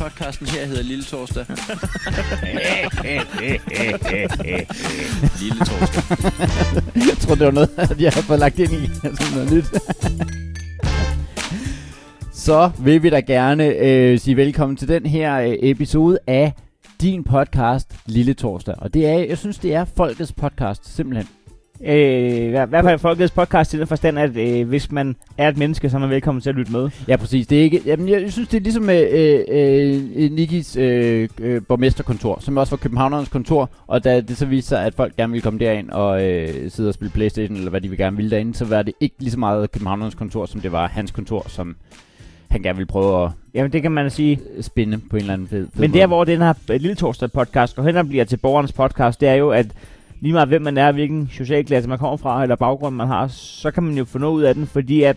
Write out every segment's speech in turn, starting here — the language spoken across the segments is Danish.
podcasten her hedder Lille Torsdag. Lille Torsdag. Jeg tror, det var noget, at jeg har fået lagt ind i sådan noget nyt. Så vil vi da gerne øh, sige velkommen til den her øh, episode af din podcast Lille Torsdag. Og det er, jeg synes, det er folkets podcast, simpelthen. Øh, I hver- hvert fald Folkets podcast i den forstand, at øh, hvis man er et menneske, så er man velkommen til at lytte med. Ja, præcis. Det er ikke, jamen, jeg synes, det er ligesom med øh, øh, Nikis øh, øh, borgmesterkontor, som også var Københavnerens kontor. Og da det så viste sig, at folk gerne ville komme derind og øh, sidde og spille Playstation, eller hvad de vil gerne ville derinde, så var det ikke lige så meget Københavnerens kontor, som det var hans kontor, som han gerne ville prøve at Jamen, det kan man sige. øh, spinde på en eller anden fed, fed Men måde. der, hvor den her øh, Lille Torsdag podcast går hen og bliver til borgernes podcast, det er jo, at lige meget hvem man er, hvilken social klasse man kommer fra, eller baggrund man har, så kan man jo få noget ud af den, fordi at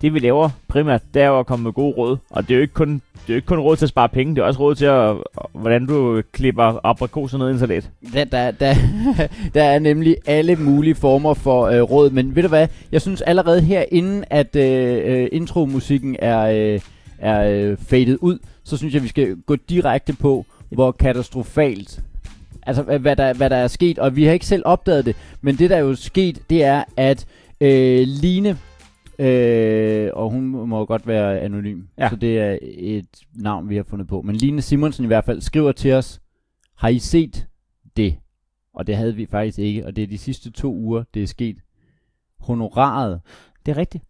det vi laver primært, det er jo at komme med gode råd. Og det er jo ikke kun, det er jo ikke kun råd til at spare penge, det er også råd til, at, hvordan du klipper aprikoser ned i en salat. Der, der, der, der er nemlig alle mulige former for øh, råd, men ved du hvad, jeg synes allerede her, inden at øh, øh, intromusikken er, øh, er øh, fadet ud, så synes jeg, vi skal gå direkte på, hvor katastrofalt, altså hva- hvad der, hvad der er sket, og vi har ikke selv opdaget det, men det der er jo sket, det er, at øh, Line, øh, og hun må jo godt være anonym, Ja. så det er et navn, vi har fundet på, men Line Simonsen i hvert fald skriver til os, har I set det? Og det havde vi faktisk ikke, og det er de sidste to uger, det er sket. Honoraret. Det er rigtigt.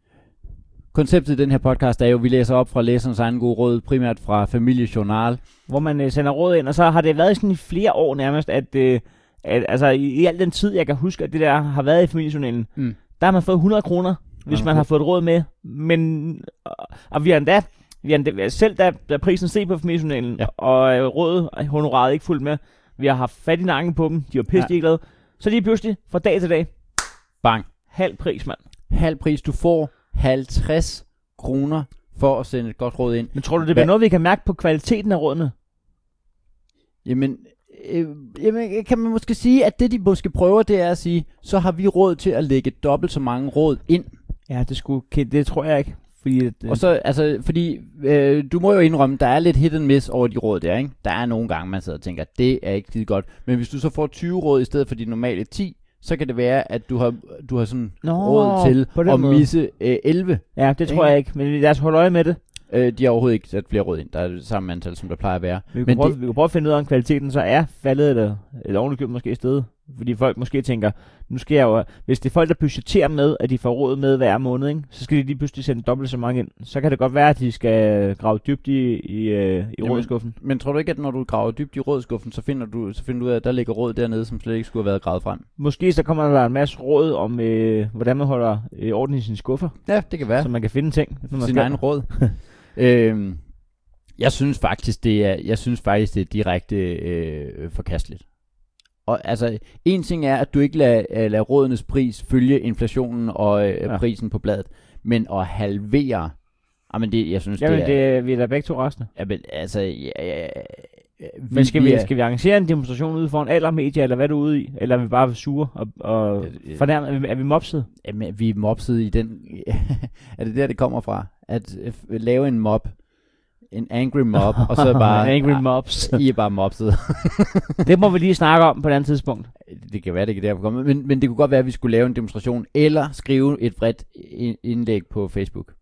Konceptet i den her podcast er jo, at vi læser op fra læsernes egen gode råd, primært fra Familiejournal. hvor man øh, sender råd ind, og så har det været sådan i flere år nærmest, at, øh, at altså, i, i al den tid, jeg kan huske, at det der har været i familiejournalen, Mm. der har man fået 100 kroner, hvis Ja, man har okay. fået et råd med. Men, og, og vi har endda, vi har endda selv da, da prisen steg på familiejournalen, Ja. ja. og øh, rådet, honoraret ikke fuldt med, vi har haft fat i nakken på dem, de var pisse Ja. ja. glade. Så lige pludselig, fra dag til dag, Bang. halv pris, mand. Halv pris. Du får 50 kroner for at sende et godt råd ind. Men tror du, det Hvad- bliver noget, vi kan mærke på kvaliteten af rådene? Jamen, øh, jamen, kan man måske sige, at det de måske prøver, det er at sige, så har vi råd til at lægge dobbelt så mange råd ind. Ja, det, skulle, det tror jeg ikke. Fordi, at, øh, Og så, altså, fordi øh, du må jo indrømme, der er lidt hit and miss over de råd der, ikke? Der er nogle gange, man sidder og tænker, det er ikke skide godt. Men hvis du så får 20 råd i stedet for de normale 10, så kan det være, at du har, du har sådan Nå, råd til på den at måde. misse øh, 11. Ja, det tror Ikke? jeg ikke, men lad os holde øje med det. Øh, de har overhovedet ikke sat flere råd ind. Der er det samme antal, som der plejer at være. Vi Men kunne, prøve, det- vi kunne prøve at finde ud af, om kvaliteten så er faldet eller, eller ovenikøbet måske i stedet. Fordi folk måske tænker, nu skal jeg jo, hvis det er folk, der budgeterer med, at de får råd med hver måned, ikke? så skal de lige pludselig sende dobbelt så mange ind. Så kan det godt være, at de skal grave dybt i, i, øh, i Jamen. rådskuffen. Men tror du ikke, at når du graver dybt i rådskuffen, så finder du, så finder du ud af, at der ligger råd dernede, som slet ikke skulle have været gravet frem? Måske så kommer der en masse råd om, øh, hvordan man holder øh, orden i sine skuffer, Ja, det kan være. så man kan finde ting. Når man sin skal. egen råd. øhm, jeg synes faktisk det er, jeg synes faktisk det er direkte øh, forkasteligt. Og altså en ting er at du ikke lader, øh, lader rådenes pris følge inflationen og øh, ja. Ja. prisen på bladet, men at halvere. Jamen det jeg synes Jamen, det er det, er, vi er da begge to resten. jamen, altså ja, ja, ja, Men skal vi, er- skal vi arrangere en demonstration ude foran alle medier, eller hvad er du ude i? Eller er vi bare sure og, og Øh, øh. fornærmet? Er vi- Er vi mopset? Jamen, vi er mopset i den... er det der, det kommer fra? At øh, lave en mob. En angry mob, og så bare... Angry mobs. I er bare mopset. det må vi lige snakke om på et andet tidspunkt. Det kan være, det kan derfor komme. Men, men det kunne godt være, at vi skulle lave en demonstration, eller skrive et bredt i- indlæg på Facebook.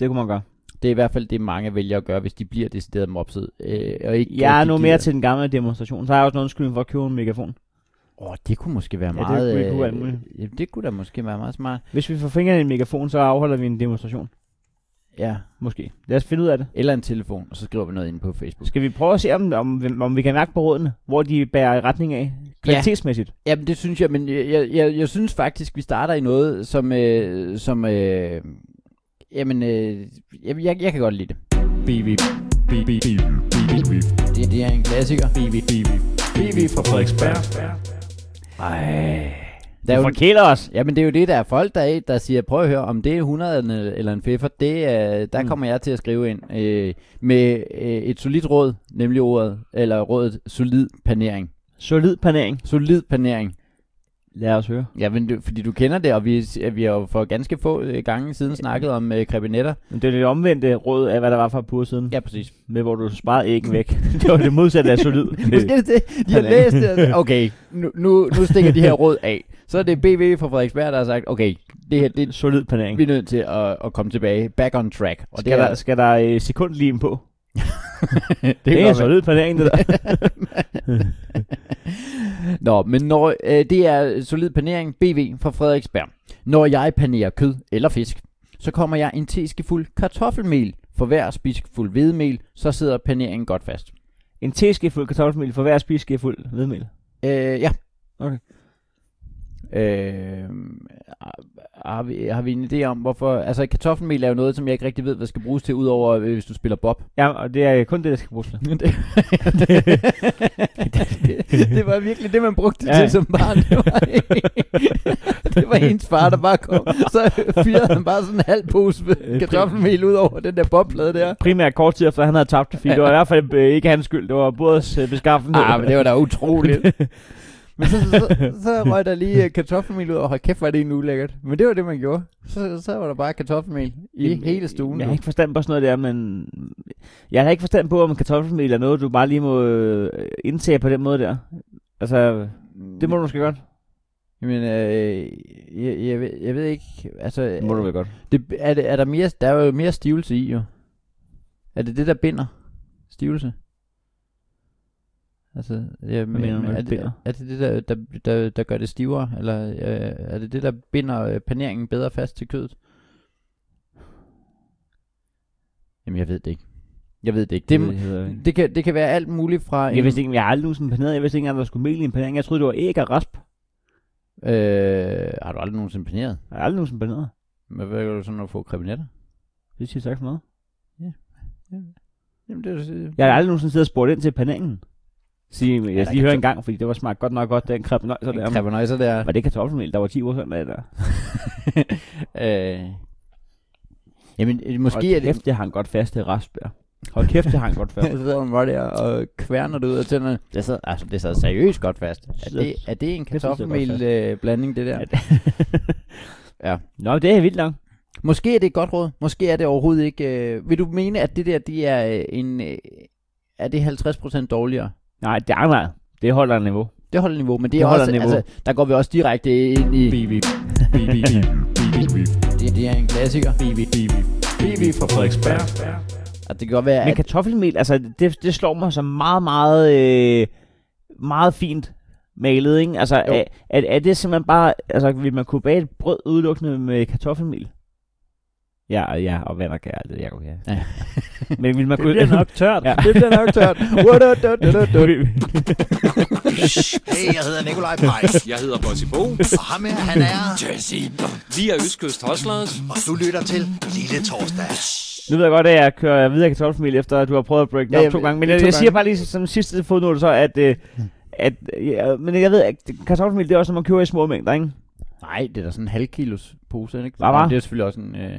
Det kunne man gøre. Det er i hvert fald det, mange vælger at gøre, hvis de bliver decideret mobset. Øh, og ikke, Jeg er rigtig nu gider. mere til den gamle demonstration, så har jeg også en undskyldning for at købe en megafon. Åh, oh, det kunne måske være Ja, meget... det kunne- det kunne øh, være alt muligt. ja, det kunne da måske være meget smart. Hvis vi får fingrene i en megafon, så afholder vi en demonstration. Ja, Måske. Lad os finde ud af det. eller en telefon, og så skriver vi noget ind på Facebook. Skal vi prøve at se, om, om, hvem- om vi kan mærke på rådene, hvor de bærer i retning af kvalitetsmæssigt? Jamen, det synes jeg, men jeg, jeg, jeg, jeg synes faktisk, vi starter i noget, som... Øh, som øh, jamen, øh, jamen jeg, jeg kan godt lide det. BB, BB, BB, BB, Det, det er en klassiker. BB, BB, BB fra Frederiksberg. Der er jo, forkæler os. jamen, det er jo det, der er folk, der, er, der siger, prøv at høre, om det er 100 eller- eller en fiffer, det, er, der Mm. kommer jeg til at skrive ind øh, med øh, et solidt råd, nemlig ordet, eller rådet solid panering. Solid panering. Solid panering. Lad os høre. Ja, men du, fordi du kender det, og vi, vi har jo for ganske få øh, gange siden snakket om øh, krebinetter. Men det er det omvendte råd af, hvad der var for et par uger siden. Ja, præcis. Med hvor du sparede æggen væk. det var det modsatte af solid. Måske er det det. De har læst det. og- Okay, nu, nu, nu stikker de her råd af. Så er det BV fra Frederiksberg, der har sagt, okay, det her, det, solid panering. vi er nødt til at, at komme tilbage. Back on track. Og skal, er- der, skal der øh, sekundlim på? det, Det, kan det er godt solid panering, det der. Nå, men når øh, det er solid panering, BV fra Frederiksberg. Når jeg panerer kød eller fisk, så kommer jeg en teskefuld kartoffelmel. For hver spiskefuld hvedemel, så sidder paneringen godt fast. En teskefuld kartoffelmel for hver spiseskefuld hvedemel. Øh, ja. Okay. Øh, har- har, vi, har vi en idé om, hvorfor... Altså, kartoffelmel er jo noget, som jeg ikke rigtig ved, hvad skal bruges til, udover øh, hvis du spiller bob. Ja, og det er kun det, der skal bruges til. det, det, det var virkelig det, man brugte det Ja. til som barn. Det var, det var ens far, der bare kom. Så fyrede han bare sådan en halv pose Øh, med kartoffelmel ud over den der bobplade der. Primært kort tid efter, han havde tabt det, fordi det var i hvert fald øh, ikke hans skyld. Det var Bordets øh, beskaffenhed. Ah, men det var da utroligt. Men så, så, så røg der lige øh, kartoffelmel ud, og hold kæft, var det egentlig ulækkert. Men det var det, man gjorde. Så, så var der bare kartoffelmel i Jamen, hele stuen. Jeg du. har ikke forstand på sådan noget der, men... Jeg har ikke forstand på, om kartoffelmel er noget, du bare lige må øh, indtage på den måde der. Altså, det må du måske godt. Jamen, øh, jeg, jeg, ved, jeg ved ikke, altså... godt. Det, er, det, er der, mere, der er jo mere stivelse i, jo. Er det det, der binder? Stivelse? Altså, jeg mener du med er, det, binder? er det det, der, der, der, der gør det stivere? Eller øh, er det det, der binder øh, paneringen bedre fast til kødet? Jamen, jeg ved det ikke. Jeg ved det ikke. Det, ved jeg heller ikke. det, kan, det kan være alt muligt fra... Jeg vidste ikke, jeg har aldrig nogensinde paneret. Jeg vidste ikke engang, der skulle mel i en panering. Jeg troede, det var æg og rasp. Øh, har du aldrig nogensinde paneret? Jeg har aldrig nogensinde paneret. Men hvad gør du så, når du får krebinetter? Det siger tak for meget. Jamen, det er Jeg har aldrig nogensinde siddet og spurgt ind til paneringen. Sige, jeg der skal lige høre kan- en gang, fordi det var smagt godt nok godt, den krabbe nøj, så der. men Krabbenøjser, det er... Var det kartoffelmel, der var 10 uger sådan der? øh. Jamen, øh, måske Hold er det... kæft, det hang godt fast, det rasbær. Hold kæft, det hang godt fast. Så sidder man bare der øh, og kværner det ud af tænderne. Det sad, altså, det sad seriøst godt fast. Er det, er det en det sidder godt kartoffelmel-blanding, det der? Ja. Nå, det er vildt langt. Måske er det et godt råd. Måske er det overhovedet ikke... Øh, vil du mene, at det der, det er øh, en... Øh, er det 50% dårligere? Nej, det er meget. Det holder niveau. Det holder niveau, men det, Det er holder også... niveau. Altså, der går vi også direkte ind i... BV BV BV Det, det er en klassiker. BV BV BV fra Frederiksberg Og det kan godt være, Men at... kartoffelmel, altså, det, det slår mig som meget, meget, øh, meget fint malet, ikke? Altså, Jo. er, er, er, det simpelthen bare, altså, vil man kunne bage et brød udelukkende med kartoffelmel? Ja, og- ja, og vand og kære, det er Jacob, ja. Ja. Men vil man Det kunne... bliver nok tørt. Ja. ja. Det bliver nok tørt. Hey, jeg hedder Nikolaj Pajs. Jeg hedder Bossy Bo. Og ham her, han er... Jesse. Vi er Østkyst Hoslers. Og du lytter til Lille Torsdag. Nu ved jeg godt, at jeg kører videre i kartoffelmel, efter at du har prøvet at break Ja, ja, jeg- op to gange. Men jeg, to jeg siger gange. bare lige som sidste fodnote så, at... Øh, at ja, men jeg ved, at kartoffelmel, det er også, når man køber i små mængder, ikke? Nej, det er da sådan en halv kilos pose, ikke? Hvad, Nå, hvad? Det er jo selvfølgelig også en... Øh...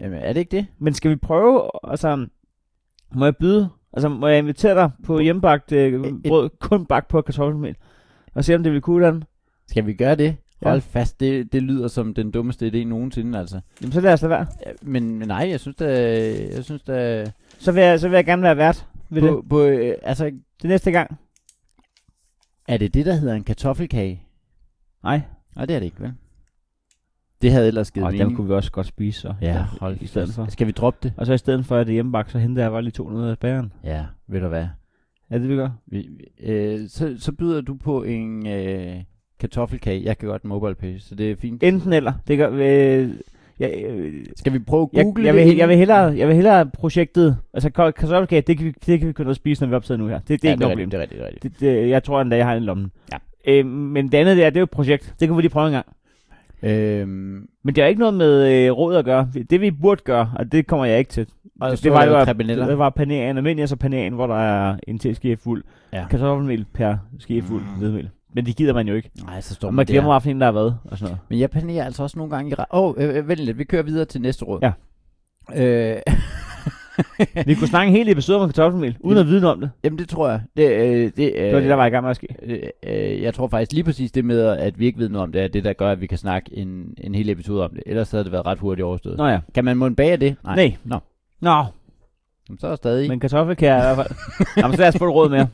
Jamen, er det ikke det? Men skal vi prøve, altså, må jeg byde, altså må jeg invitere dig på hjemmebagt øh, et- brød, kun bagt på kartoffelmel, og se om det vil kunne den. Skal vi gøre det? Ja. Hold fast, det, det lyder som den dummeste idé nogensinde, altså. Jamen så lad os da være. Ja, Men, men nej, jeg synes da... Jeg synes da... Så vil jeg, så vil jeg gerne være vært ved det. På, på, øh, altså, Det næste gang. er det det, der hedder en kartoffelkage? Nej. Nej, det er det ikke, vel? Det havde ellers givet Og mening. den kunne vi også godt spise så. Ja, hold i stedet for. Skal vi droppe det? Og så i stedet for at det er hjemmebagt, så henter jeg bare lige to noget af bageren. Ja, ved du hvad? Er det, vi gør? Vi, vi- øh, så, så byder du på en øh, kartoffelkage. Jeg kan godt mobile page, så det er fint. Enten eller. Det gør, øh, jeg, øh, Skal vi prøve at jeg, google jeg, det? vil, inden? jeg, vil hellere, jeg vil hellere projektet, altså ka- kartoffelkage, det kan, vi, det kan vi kunne spise, når vi optager nu her. Det, det er ja, ikke noget problem. rigtigt, Det er rigtigt, det er rigtigt. Det, det, jeg tror endda, jeg har en i lommen. Ja. Øh, men det andet der, det er jo et projekt. Det kan vi lige prøve en gang. Øhm, Men det har ikke noget med øh, råd at gøre. Det vi burde gøre, og det kommer jeg ikke til. og det, så det, var er jo der at- krebineller. det var paneren almindelig, og så paneren, hvor der er en teske fuld. Ja. Kartoffelmel per ske fuld Mm. hvedemel. Men det gider man jo ikke. Nej, så står Og man man glemmer, der. hvilken der har været og sådan noget. Men jeg panerer øh, altså også nogle gange i... Åh, re- oh, øh, vent lidt, vi kører videre til næste råd. Ja. Øh, Vi kunne snakke en hel episode om kartoffelmel, uden at vide noget om det. Jamen det tror jeg. Det, øh, det, øh, Det var det, der var i gang med at ske. Øh, øh, jeg tror faktisk lige præcis det med, at vi ikke ved noget om det, er det, der gør, at vi kan snakke en, en hel episode om det. Ellers havde det været ret hurtigt overstået. Nå ja. Kan man munde bag af det? Nej. Nej. Nå. Nå, Jamen, så er der stadig. men kartoffel kan jeg i hvert fald. Jamen, så lad os få et råd mere.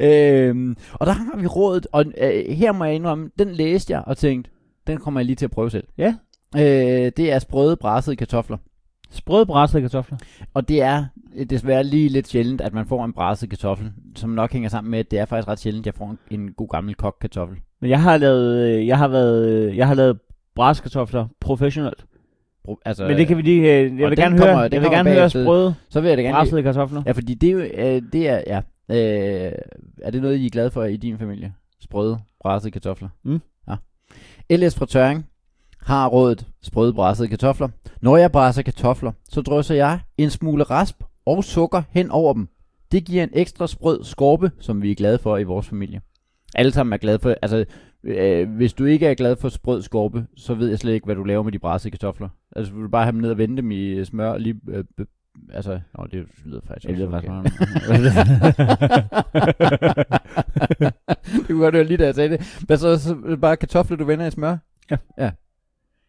Øhm, og der har vi rådet, og øh, her må jeg indrømme, den læste jeg og tænkte, den kommer jeg lige til at prøve selv. Ja. Øh, det er sprøde brassede kartofler. Sprøde brassede kartofler. Og det er øh, desværre lige lidt sjældent, at man får en brasset kartoffel, som nok hænger sammen med, at det er faktisk ret sjældent, at jeg får en, en god gammel kok kartoffel. Men jeg har lavet, øh, jeg har været, øh, jeg har lavet brassede kartofler professionelt. Altså, Men det kan vi lige, øh, jeg og vil den gerne kommer- høre, den jeg vil kommer gerne høre bagefter. sprøde Så vil jeg da gerne... brassede kartofler. Ja, fordi det, er jo, øh, det er, ja. Øh, er det noget, I er glade for i din familie? Sprøde, brassede kartofler? Mm. Ja. LS fra Tøring har rådet sprøde, brassede kartofler. Når jeg brasser kartofler, så drysser jeg en smule rasp og sukker hen over dem. Det giver en ekstra sprød skorpe, som vi er glade for i vores familie. Alle sammen er glade for, altså øh, hvis du ikke er glad for sprød skorpe, så ved jeg slet ikke, hvad du laver med de brassede kartofler. Altså vil du bare have dem ned og vende dem i øh, smør og lige... Øh, øh, altså, nå, det lyder faktisk Det lyder også faktisk det kunne godt høre lige da jeg sagde det. Hvad så, så bare kartofler, du vender i smør? Ja. Ja.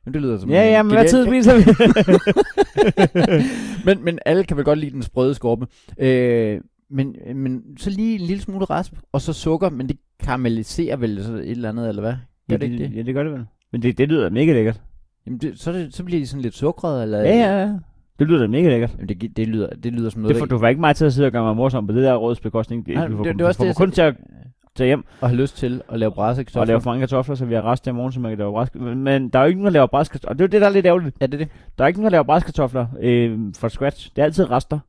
Jamen, det lyder som Ja, en ja, men hvad genial- tid spiser vi? men, men alle kan vel godt lide den sprøde skorpe. Øh, men, men så lige en lille smule rasp, og så sukker, men det karamelliserer vel så et eller andet, eller hvad? Gør det ikke det? Ja, det gør det vel. Men det, det lyder mega lækkert. Jamen, det, så, er det, så bliver de sådan lidt sukkret, eller? Ja, ja, ja. Det lyder da mega lækkert. Jamen, det, gi- det, lyder, det lyder som noget, Det får, du var ikke mig til at sidde og gøre mig morsom på det der rådsbekostning. Det, Nej, du får, det- det er du også får det, mig jeg kun til at tage hjem at have lyst til at lave brassekartofler. og lave for mange kartofler, så vi har rest i morgen, så man kan lave bræsk. Men der er jo ikke nogen, der laver bræskartofler. Og det er jo det, der er lidt ærgerligt. Er det det? Der er ikke nogen, der laver bræskartofler øh, fra scratch. Det er altid rester.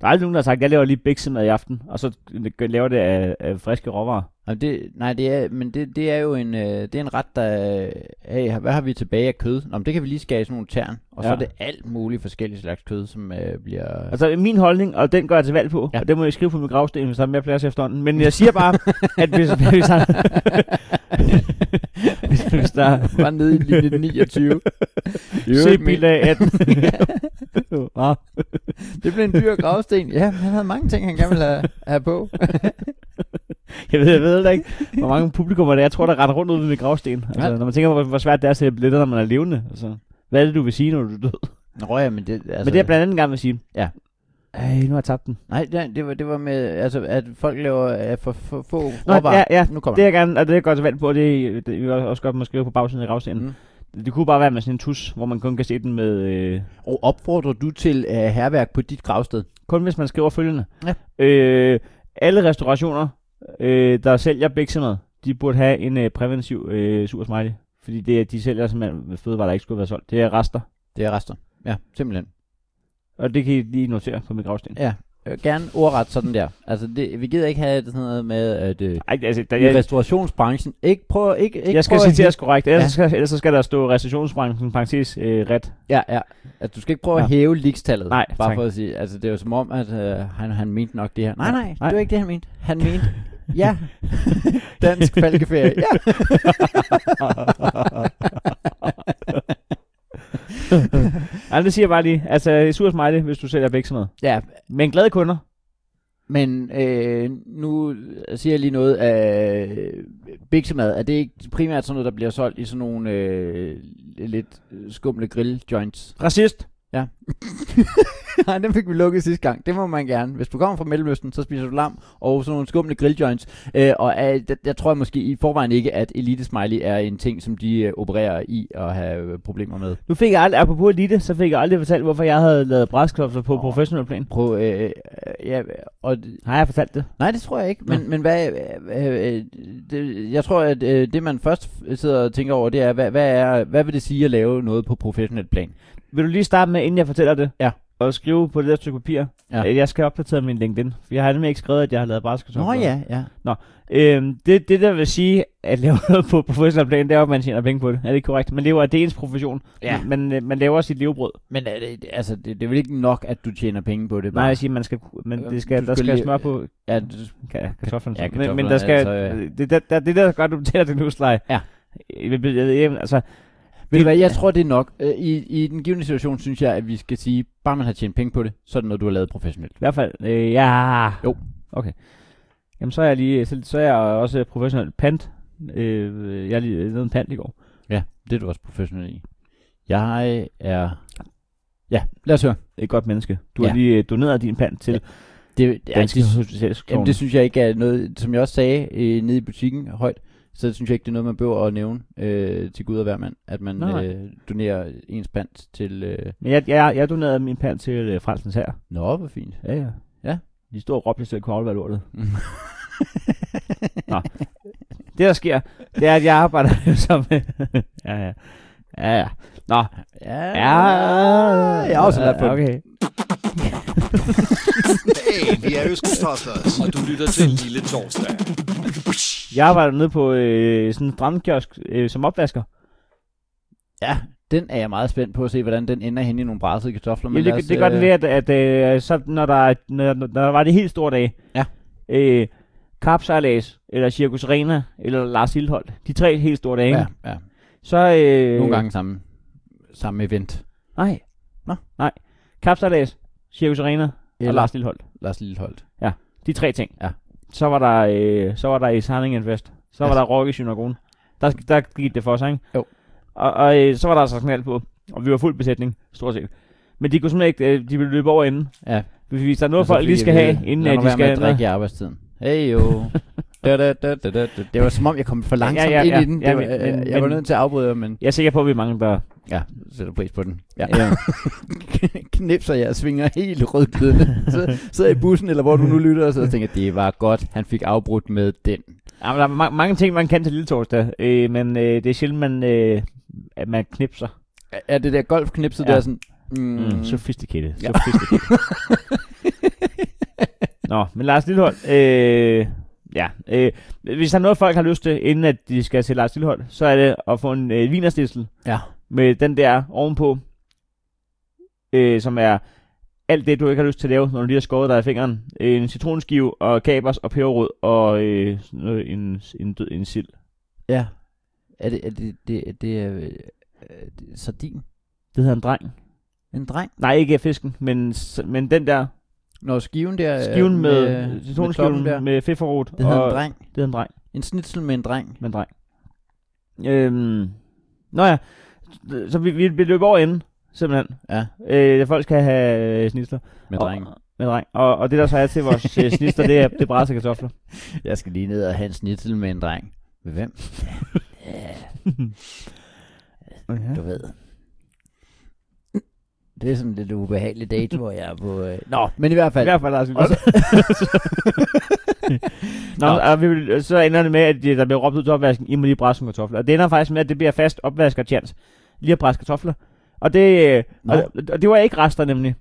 Der er aldrig nogen, der har sagt, jeg laver lige biksemad i aften, og så laver det af, af friske råvarer. Jamen, det, nej, det er, men det, det er jo en, øh, det er en ret, der... øh, Hey, hvad har vi tilbage af kød? Nå, men det kan vi lige skære i sådan nogle tern. Og ja. så Ja. er det alt muligt forskellige slags kød, som øh, bliver... Altså min holdning, og den gør jeg til valg på, Ja. ja. og det må jeg skrive på min gravsten, hvis der er mere plads efterhånden. Men jeg siger bare, at hvis, hvis, der, hvis, hvis der er var nede i linje 29. se bilag 18. Nå, Det blev en dyr gravsten. Ja, han havde mange ting, han gerne ville have, have på. jeg ved, jeg ved heller ikke, hvor mange publikummer der er. Jeg tror, der retter rundt ud ved min gravsten. Altså, Ja. Når man tænker, hvor, hvor svært det er at sælge billetter, når man er levende. Altså, hvad er det, du vil sige, når du er død? Altså, Nå ja, men det... Altså, Men det er blandt andet en gang, vil sige. Ja. Ej, nu har jeg tabt den. Nej, det, det, var, det var med, altså, at folk laver uh, for, for få Nå, råvarer. ja, ja. Nu kommer Det det. er gerne, og det er godt til valg på, og det, det, vi også godt måske på bagsiden af gravstenen. Mm. Det kunne bare være med sådan en tus, hvor man kun kan se den med... Øh, Og opfordrer du til uh, herværk på dit gravsted? kun hvis man skriver følgende. Ja. Øh, alle restaurationer, øh, der sælger biksemad, de burde have en øh, præventiv øh, sur smiley. Fordi det, er- de sælger simpelthen fødevarer, der ikke skulle være solgt. Det er rester. Det er rester. Ja, simpelthen. Og det kan I lige notere på min gravsten. Ja. Øh, gerne ordret sådan der. Altså, det, vi gider ikke have sådan noget med, at øh, Ej, altså, der, i jeg, restaurationsbranchen ikke prøv ikke, ikke jeg skal prøv at citeres korrekt, ellers, Ja. ja. skal, ellers så skal der stå restaurationsbranchen, parentes, øh, ret. Ja, ja. At du skal ikke prøve ja. at Ja. hæve likstallet. Nej, Bare tak. for at sige, altså det er jo som om, at øh, han, han mente nok det her. Nej, Ja. nej, nej, Nej. det var ikke det, han mente. Han mente, ja, dansk falkeferie, ja. Ej, det siger jeg bare lige. Altså, sur smiley, hvis du sælger biksemad. ja. Men glade kunder. Men øh, nu siger jeg lige noget af øh, biksemad. Er det ikke primært sådan noget, der bliver solgt i sådan nogle øh, lidt skumle grill joints? Racist. Nej, den fik vi lukket sidste gang. Det må man gerne. Hvis du kommer fra Mellemøsten, så spiser du lam og sådan nogle skumle grilljoints. Øh, og øh, jeg, jeg tror måske i forvejen ikke, at Elite Smiley er en ting, som de øh, opererer i og har øh, problemer med. Nu fik jeg aldrig, apropos elite, så fik jeg aldrig fortalt, hvorfor jeg havde lavet bræsklopser på Åh. oh. professionel plan. Prøv, øh, øh, ja, og, Har jeg fortalt det? nej, det tror jeg ikke. Men, men hvad, øh, øh, det, jeg tror, at øh, det man først sidder og tænker over, det er, hvad, hvad, er, hvad vil det sige at lave noget på professionelt plan? Vil du lige starte med, inden jeg fortæller det? Ja. Og skrive på det der stykke papir, Ja. ja. at jeg skal opdatere min LinkedIn. For jeg har nemlig ikke skrevet, at jeg har lavet basketball. Nå ja, ja. Øhm, det, det der vil sige, at lave noget på professionel plan, det er jo, at man tjener penge på det. Er det ikke korrekt? Man lever af det er ens profession. Ja. Man, øh, man, man laver sit levebrød. Men er det, altså, det, det er vel ikke nok, at du tjener penge på det? Nej, Bare. jeg siger, man skal, man, Øhm, det skal, du der skal skal lige- smør på Ja, du- Ja, kartoflerne. Ja, Ja, kartoflerne, men, men der skal, altså, ja. det, der, der, det der gør, at du betaler din husleje. Øh, Ja. Jeg ved- jeg ved ikke, altså, Ved du hvad, jeg tror, det er nok. Øh, I, I den givende situation synes jeg, at vi skal sige, bare man har tjent penge på det, så er det noget, du har lavet professionelt. I hvert fald, øh, ja. Jo. Okay. Jamen, så er jeg lige, så, så er jeg også professionel pant. Øh, jeg er lige lavet en pant i går. Ja, det er du også professionel i. Jeg er... Ja, lad os høre. Et godt menneske. Du Ja. har lige øh, doneret din pant til Det, ja, Danske det, Hospitalsklovne. jamen, det synes jeg ikke er noget, som jeg også sagde øh, nede i butikken højt, så synes jeg ikke, det er noget, man behøver at nævne øh, til Gud og hver mand, at man Nej. øh, donerer ens pant til... Øh, Men jeg, jeg, jeg donerede min pant til øh, Fransens her. Nå, hvor fint. Ja, ja. Ja. Mm. De står og råbte, at jeg kunne aflevere lortet. Nå. Det, der sker, det er, at jeg arbejder som... ja, ja. Ja, ja. Nå. Ja, Ja. jeg har også lært på det. Okay. Hey, vi er Østkystoslers. og du lytter til Lille Torsdag. Jeg arbejder nede på øh, sådan en strandkiosk øh, som opvasker. Ja, den er jeg meget spændt på at se, hvordan den ender hen i nogle brassede kartofler. Jamen, det, lad det, os, gør den øh, ved, at, at øh, så, når, der, når, når der var det helt store dage, Ja. øh, Kapsalas, eller Cirkus Arena, eller Lars Hildholt, de tre helt store dage, Ja, ja. så... Øh, Nogle gange samme, samme event. Nej. Nå. Nej. Kapsalas, Cirkus Arena Eller- og Lars Lillehold. Lars Lilleholdt. De tre ting. Ja. Så var der, øh, så var der i Sarningen Fest. Så var Ja. der Rock i Synagogen. Der, der gik det for sig, ikke? Jo. Og, og øh, så var der altså knald på. Og vi var fuld besætning, stort set. Men de kunne simpelthen ikke, øh, de ville løbe over inden. Ja. Hvis der er noget, Og så folk fik lige jeg skal at have, vide, inden Altså, øh, lad at nu de være med skal at drikke i arbejdstiden. Hey jo. da, da, da, da, da, da. Det var som om, jeg kom for langsomt Ja, ja, ja. ind i den. Det Ja, var, men- øh, men- jeg var men- nødt til at afbryde, jer, men Jeg er sikker på, at vi er mange, der... ja, sætter pris på den. Ja. Ja. Knipser jeg og svinger helt rødglødende. Så sidder jeg i bussen, eller hvor du nu lytter, og så tænker jeg, det var godt, han fik afbrudt med den. Ja, men der er ma- mange ting, man kan til lille torsdag, øh, men øh, det er sjældent, man, øh, at man knipser. Er- Er det der golfknipset, Ja. ja. der er sådan... Mm. Mm, Mm, sophisticated. Ja. sophisticated. Nå, men Lars Lillehold, øh, ja, øh, hvis der er noget, folk har lyst til, inden at de skal til Lars Lillehold, så er det at få en øh, vinerstissel Ja. med den der ovenpå, øh, som er alt det, du ikke har lyst til at lave, når du lige har skåret dig i fingeren. En citronskive og kapers og peberrod og øh, sådan noget, en, en, død, en sild. Ja. Er det, er det, det, er det er, øh, er det sardin? Det hedder en dreng. En dreng? Nej, ikke af fisken, men, s- men den der Når skiven der... øh, skiven med, med med citronskiven toppen med, der. med feferot. Det hedder en dreng. Det hedder en dreng. En snitsel med en dreng. Med en dreng. Øhm, nå ja, så vi, vi, vi løber over enden, simpelthen. Ja, Øh, folk skal have øh, snister. med Og- dreng. Med dreng. Og, og det der så er til vores øh, snister, det er, det er brædse kartofler. Jeg skal lige ned og have en snitsel med en dreng. Med hvem? Okay. Du ved. Det er sådan lidt ubehagelig date, hvor jeg er på... Øh... Nå, men i hvert I fald... hvert fald, Lars. Og Altså, så, Nå. Nå, Og vi, vil- så ender det med, at de- der bliver råbt ud til opvasken, I må lige brædse nogle kartofler. Og det ender faktisk med, at det bliver fast opvaskertjans. Lige at brædse kartofler. Og det, øh, Nå. og, og det var ikke rester nemlig.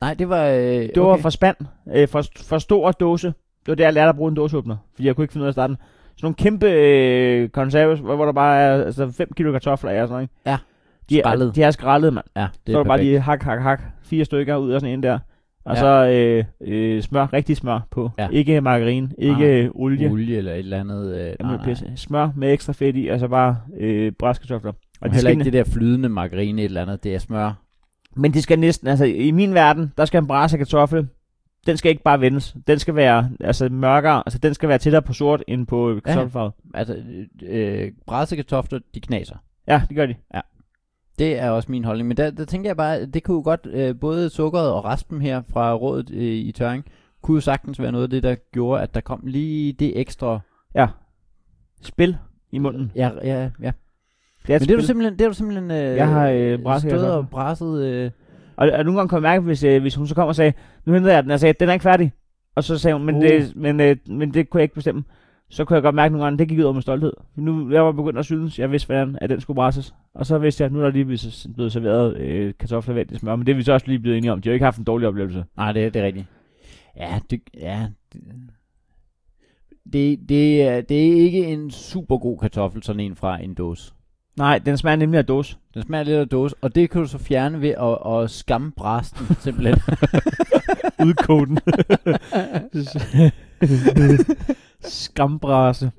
nej, det var... Øh, okay. Det var for spand, øh, for, for stor dåse. Det var der, jeg lærte at bruge en dåseåbner, fordi jeg kunne ikke finde ud af at starte den. Sådan nogle kæmpe øh, konserves, hvor, hvor der bare er altså 5 kilo kartofler af og sådan noget. ikke? Ja. De er, Skrællet. de er skrællet, mand. Ja, det Så var er det bare perfekt. lige hak, hak, hak. Fire stykker ud af sådan en der. Og Ja. så øh, øh, smør, rigtig smør på. Ja. Ikke margarine, ikke ah, olie. Olie eller et eller andet... Øh, nej, Jamen, nej. pisse. Smør med ekstra fedt i, og så bare øh, bræskartofler. Og Og heller skal, ikke det der flydende margarine et eller andet, det er smør. Men det skal næsten, altså i min verden, der skal en brase af kartoffel, den skal ikke bare vendes. Den skal være altså mørkere, altså den skal være tættere på sort end på øh, kartoffelfarvet. Altså, øh, brædsekartofler, de knaser. Ja. ja, det gør de. Det er også min holdning, men der, der tænker jeg bare, at det kunne jo godt, øh, både sukkeret og raspen her fra rådet øh, i Tøring, kunne jo sagtens være noget af det, der gjorde, at der kom lige det ekstra. Spil i munden. Ja, ja, ja. Det er Men et det er du spil. simpelthen, det er du simpelthen øh, Jeg har, øh, brasset stået kartofler. og brasset. Øh, Og, og nogle gange kunne jeg mærke, hvis, øh, hvis hun så kom og sagde, nu henter jeg den, og sagde, den er ikke færdig. Og så sagde hun, men, Uh. det, men, øh, men det kunne jeg ikke bestemme. Så kunne jeg godt mærke nogle gange, det gik ud over min stolthed. Nu jeg var begyndt at synes, jeg vidste, hvordan at den skulle brasses. Og så vidste jeg, at nu er der lige blevet- blevet serveret øh, kartofler vendt i smør. Men det er vi så også lige blevet enige om. De har jo ikke haft en dårlig oplevelse. nej, det, det er rigtigt. Ja, det, ja. det- Det, det, er, det er ikke en super god kartoffel, sådan en fra en dåse. Nej, den smager nemlig af dåse. Den smager lidt af dåse, og det kan du så fjerne ved at, at skamme brasten, simpelthen. Udkoden. Skambrase.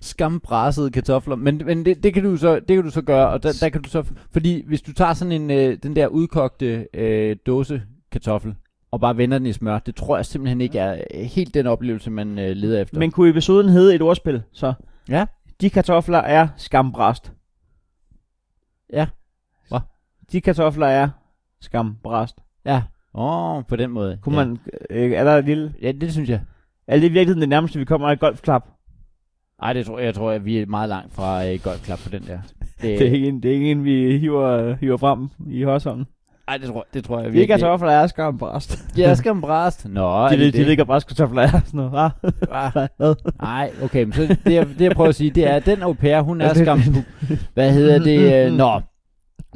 skambrassede kartofler. Men, men det, det, kan du så, det kan du så gøre, og der, der kan du så... Fordi hvis du tager sådan en, øh, den der udkogte øh, dåse kartoffel, og bare vender den i smør, det tror jeg simpelthen ikke er øh, helt den oplevelse, man øh, leder efter. Men kunne episoden hedde et ordspil, så? Ja. De kartofler er skambrast. Ja. Hva? De kartofler er skambrast. Ja. Åh, oh, på den måde. Kunne ja. ja. man... Øh, er der et lille... Ja, det synes jeg. Er det i virkeligheden det nærmeste, vi kommer af et golfklap? Ej, det tror jeg, jeg tror, at vi er meget langt fra øh, golfklap på den der. Det er ikke en, det er ikke en vi hiver, hiver frem i hårdsånden. Ej, det tror, det tror jeg Vi virkelig. ikke er kartofler, er skambrast. Jeg skal en bræst. Nå, er De, ved, de det? ved ikke, at brastkartofler er sådan noget. Ah, Ah. hvad? Nej, okay, men så det, jeg, det jeg prøver at sige, det er, at den au pair, hun er skam... Hvad hedder det? øh, Nå,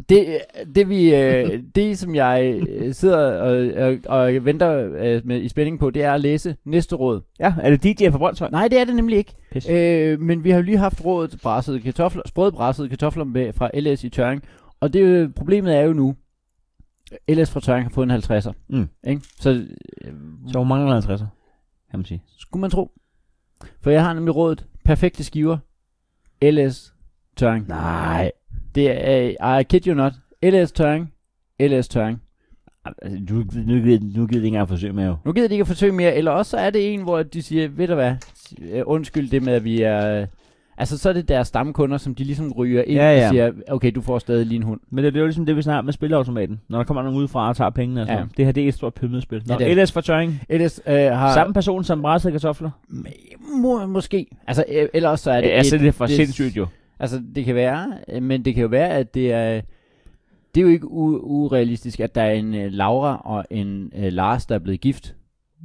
det, det, vi, øh, det som jeg øh, sidder og, og, og venter øh, med, i spænding på, det er at læse næste råd. Ja, er det DJ fra Brøndshøj? Nej, det er det nemlig ikke. Pis. Øh, men vi har jo lige haft rådet brassede kartofler, sprøde brassede kartofler med, fra LS i Tøring. Og det øh, problemet er jo nu, LS fra Tøring har fået en 50'er. Mm. Ikke? Så øh, Så hvor mange 50'er, kan man sige. skulle man tro. For jeg har nemlig rådet perfekte skiver. LS Tøring. Nej. Det er, I kid you not. LS Tøring. LS Tøring. Altså, nu, nu, gider- nu gider de ikke engang forsøge med jo. Nu gider de ikke at forsøge mere, eller også så er det en, hvor de siger, ved du hvad, øh, undskyld det med, at vi er... Altså, så er det deres stamkunder, som de ligesom ryger ind Ja, ja. og siger, okay, du får stadig lige en hund. Men det, det er jo ligesom det, vi snakker med spilautomaten. Når der kommer nogen udefra og tager pengene og sådan Ja. noget. Det her, det er et stort pyramidespil. Nå, Ja, det ja, LS fra Tøring. Ellers øh, har... Samme person som brændede kartofler. Må, måske. Altså, øh, ellers så er Ja, det... altså, et- det er for det- sindssygt jo. Altså, det kan være, øh, men det kan jo være, at det er... Det er jo ikke u- urealistisk, at der er en øh, Laura og en øh, Lars, der er blevet gift.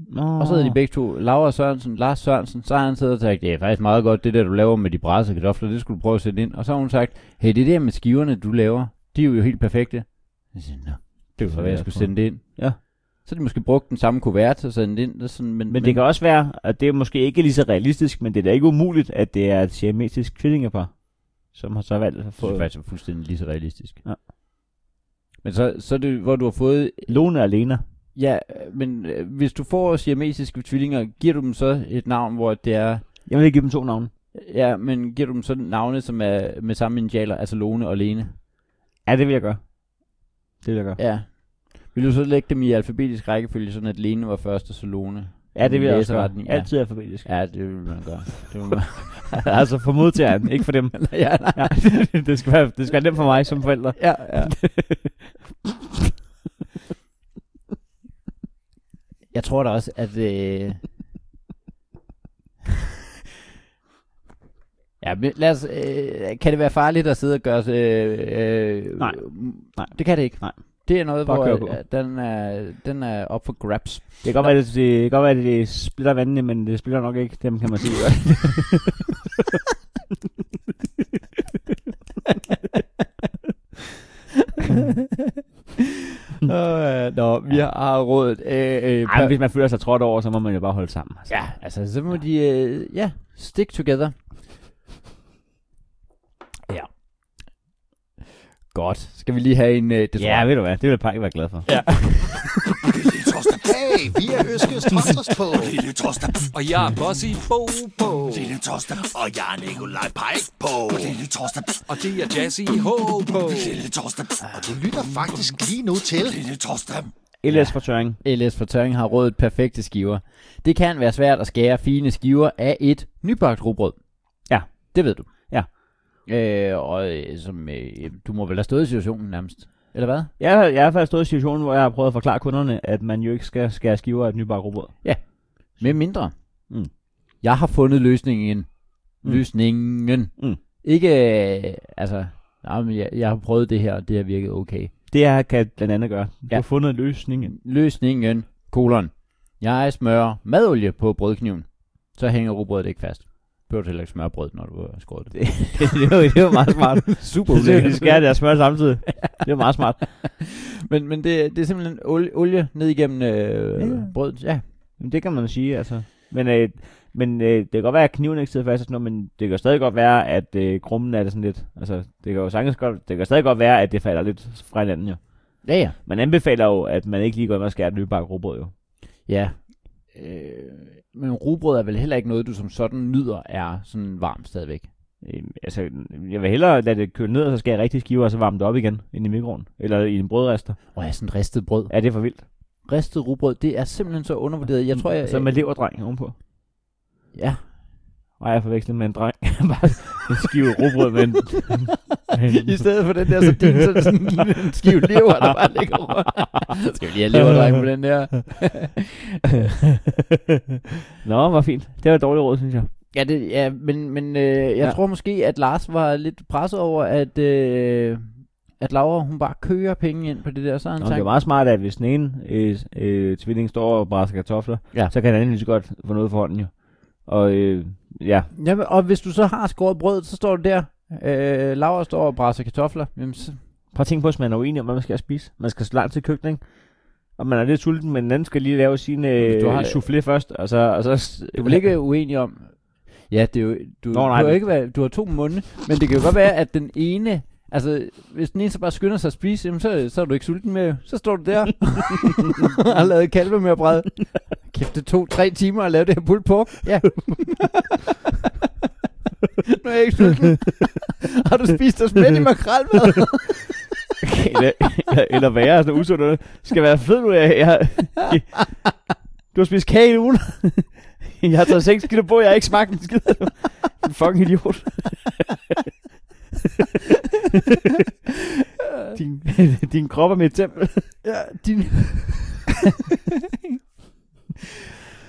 Nå. Og så hedder de begge to Laura Sørensen, Lars Sørensen. Så har han siddet og sagt, det er faktisk meget godt, det der du laver med de brædse kartofler, det skulle du prøve at sætte ind. Og så har hun sagt, hey, det der med skiverne, du laver, de er jo helt perfekte. Jeg siger, Nå, det kunne være, jeg skulle sende det ind. Ja. Så har de måske brugt den samme kuvert og sendt det ind. Og sådan, men, Men det kan også være, at det er måske ikke lige så realistisk, men det er da ikke umuligt, at det er et siamesisk tvillingepar, som har så valgt at det er få faktisk fuldstændig lige så realistisk. Ja. Men så, så er det, hvor du har fået... Lone og Lena. Ja, men øh, hvis du får siamesiske tvillinger, giver du dem så et navn, hvor det er... Jeg vil ikke give dem to navne. Ja, men giver du dem så navne, som er med samme initialer, altså Lone og Lene? Ja, det vil jeg gøre. Det vil jeg gøre. Ja. Vil du så lægge dem i alfabetisk rækkefølge, sådan at Lene var først og så Lone? Ja, det vil jeg også gøre. Læseretning, ja. Altid alfabetisk. Ja, det vil man gøre. Det vil man... altså for modtageren, ikke for dem. ja, nej. Ja, det, skal være, det skal være nemt for mig som forælder. Ja, ja. jeg tror da også, at... Øh... ja, men lad os, øh, kan det være farligt at sidde og gøre... Øh, øh, Nej. Nej. Det kan det ikke. Nej. Det er noget, Bare hvor kør på. øh, den, er, den er op for grabs. Det kan godt være, at det, det, kan godt være, at det splitter vandene, men det splitter nok ikke dem, kan man sige. øh, nå, vi har rådet. Øh, øh, Ej, men hvis man føler sig trådt over, så må man jo bare holde sammen. Altså. Ja, altså så må ja. de, øh, ja, stick together. Ja. Godt. Skal vi lige have en, øh, det tror ja jeg. ved du hvad, det vil Pakke være glad for. Torsten, hey, vi er Øskes Torsters på. Lille Torsten, Og jeg er Bossy Bo Bo. Lille Torsten, og jeg er Nikolaj Pajk på. Lille Torsten, Og det er Jazzy H på. Lille Torsten, og du lytter faktisk lige nu til. Lille Torsten. LS for tøring. LS for Tøring har rådet perfekte skiver. Det kan være svært at skære fine skiver af et nybagt rugbrød. Ja. Det ved du. Ja. Øh, og øh, som, øh, du må vel have stået i situationen nærmest. Eller hvad? Jeg, har- jeg har faktisk stået i situationen, hvor jeg har prøvet at forklare kunderne, at man jo ikke skal skære skiver af et nybagt robot. Med mindre. Mm. Jeg har fundet løsningen. Mm. Løsningen. Mm. Ikke, øh, altså, nej, men jeg, jeg har prøvet det her, og det har virket okay. Det her kan blandt andet gøre. Du Ja. ja. har fundet løsningen. Løsningen, kolon. Jeg smører madolie på brødkniven. Så hænger rugbrødet ikke fast. Behøver du heller ikke smøre brød, når du har skåret det. det, var, det var meget smart. Super Så skal de skære det og smøre samtidig. Det var meget smart. Men, men det, det er simpelthen olie, olie ned igennem øh, Ja. brødet. Ja. Jamen, det kan man sige, altså. Men, øh, men øh, det kan godt være, at kniven ikke sidder fast og sådan noget, men det kan jo stadig godt være, at øh, krummen er det sådan lidt. Altså, det kan jo sagtens godt, det kan stadig godt være, at det falder lidt fra hinanden jo. Ja, ja. Man anbefaler jo, at man ikke lige går ind og skærer den nye bakke rugbrød jo. Ja. Øh, men rugbrød er vel heller ikke noget, du som sådan nyder er sådan varmt stadigvæk. Øhm, altså, jeg vil hellere lade det køle ned, og så skal jeg rigtig skiver, og så varme det op igen, ind i mikroen. Eller i en brødrester. Og jeg er sådan ristet brød. Er det for vildt? Ristet rugbrød, det er simpelthen så undervurderet. Jeg tror, jeg... Så med leverdreng ovenpå. Ja. Nej, jeg forvekslet med en dreng. Bare en skive rugbrød med en... med I en stedet for den der, så din så er det sådan en lille skive lever, der bare ligger rundt. Skal vi lige have leverdreng på den der? Nå, hvor fint. Det var et dårligt råd, synes jeg. Ja, det, ja men, men øh, jeg Ja. ja. tror måske, at Lars var lidt presset over, at, øh, at Laura, hun bare kører penge ind på det der. Så har han Nå, det er sagt, meget smart, at hvis den ene øh, øh, tvilling står og brænder kartofler, Ja. så kan den anden lige så godt få noget for hånden jo. Og øh, ja, Jamen, og hvis du så har skåret brød, så står du der. Øh, Laura står og brænder kartofler. Jamen, så, prøv at tænke på, hvis man er uenig om, hvad man skal spise. Man skal så langt til køkkenet, ikke? og man er lidt sulten, men den anden skal lige lave sin øh, Hvis du du har... har- soufflé først, og så... Og så du er vel ikke uenig om... Ja, det er jo, du, Nå, Nå, nej, nej, du, har det- ikke været, du har to munde, men det kan jo godt være, at den ene... Altså, hvis den ene så bare skynder sig at spise, jamen, så, så er du ikke sulten med. Så står du der og har lavet kalve med bræd. Kæft, det tog tre timer at lave det her pulled pork. Ja. nu er jeg ikke sulten. har du spist dig smidt i makrelmad? eller, eller være sådan usundt noget. Skal være fed nu, jeg, jeg, Du har spist kage i ugen. jeg har taget 6 kilo på, jeg har ikke smagt en skid. en fucking idiot. din, din krop er mit tempel. Ja, din...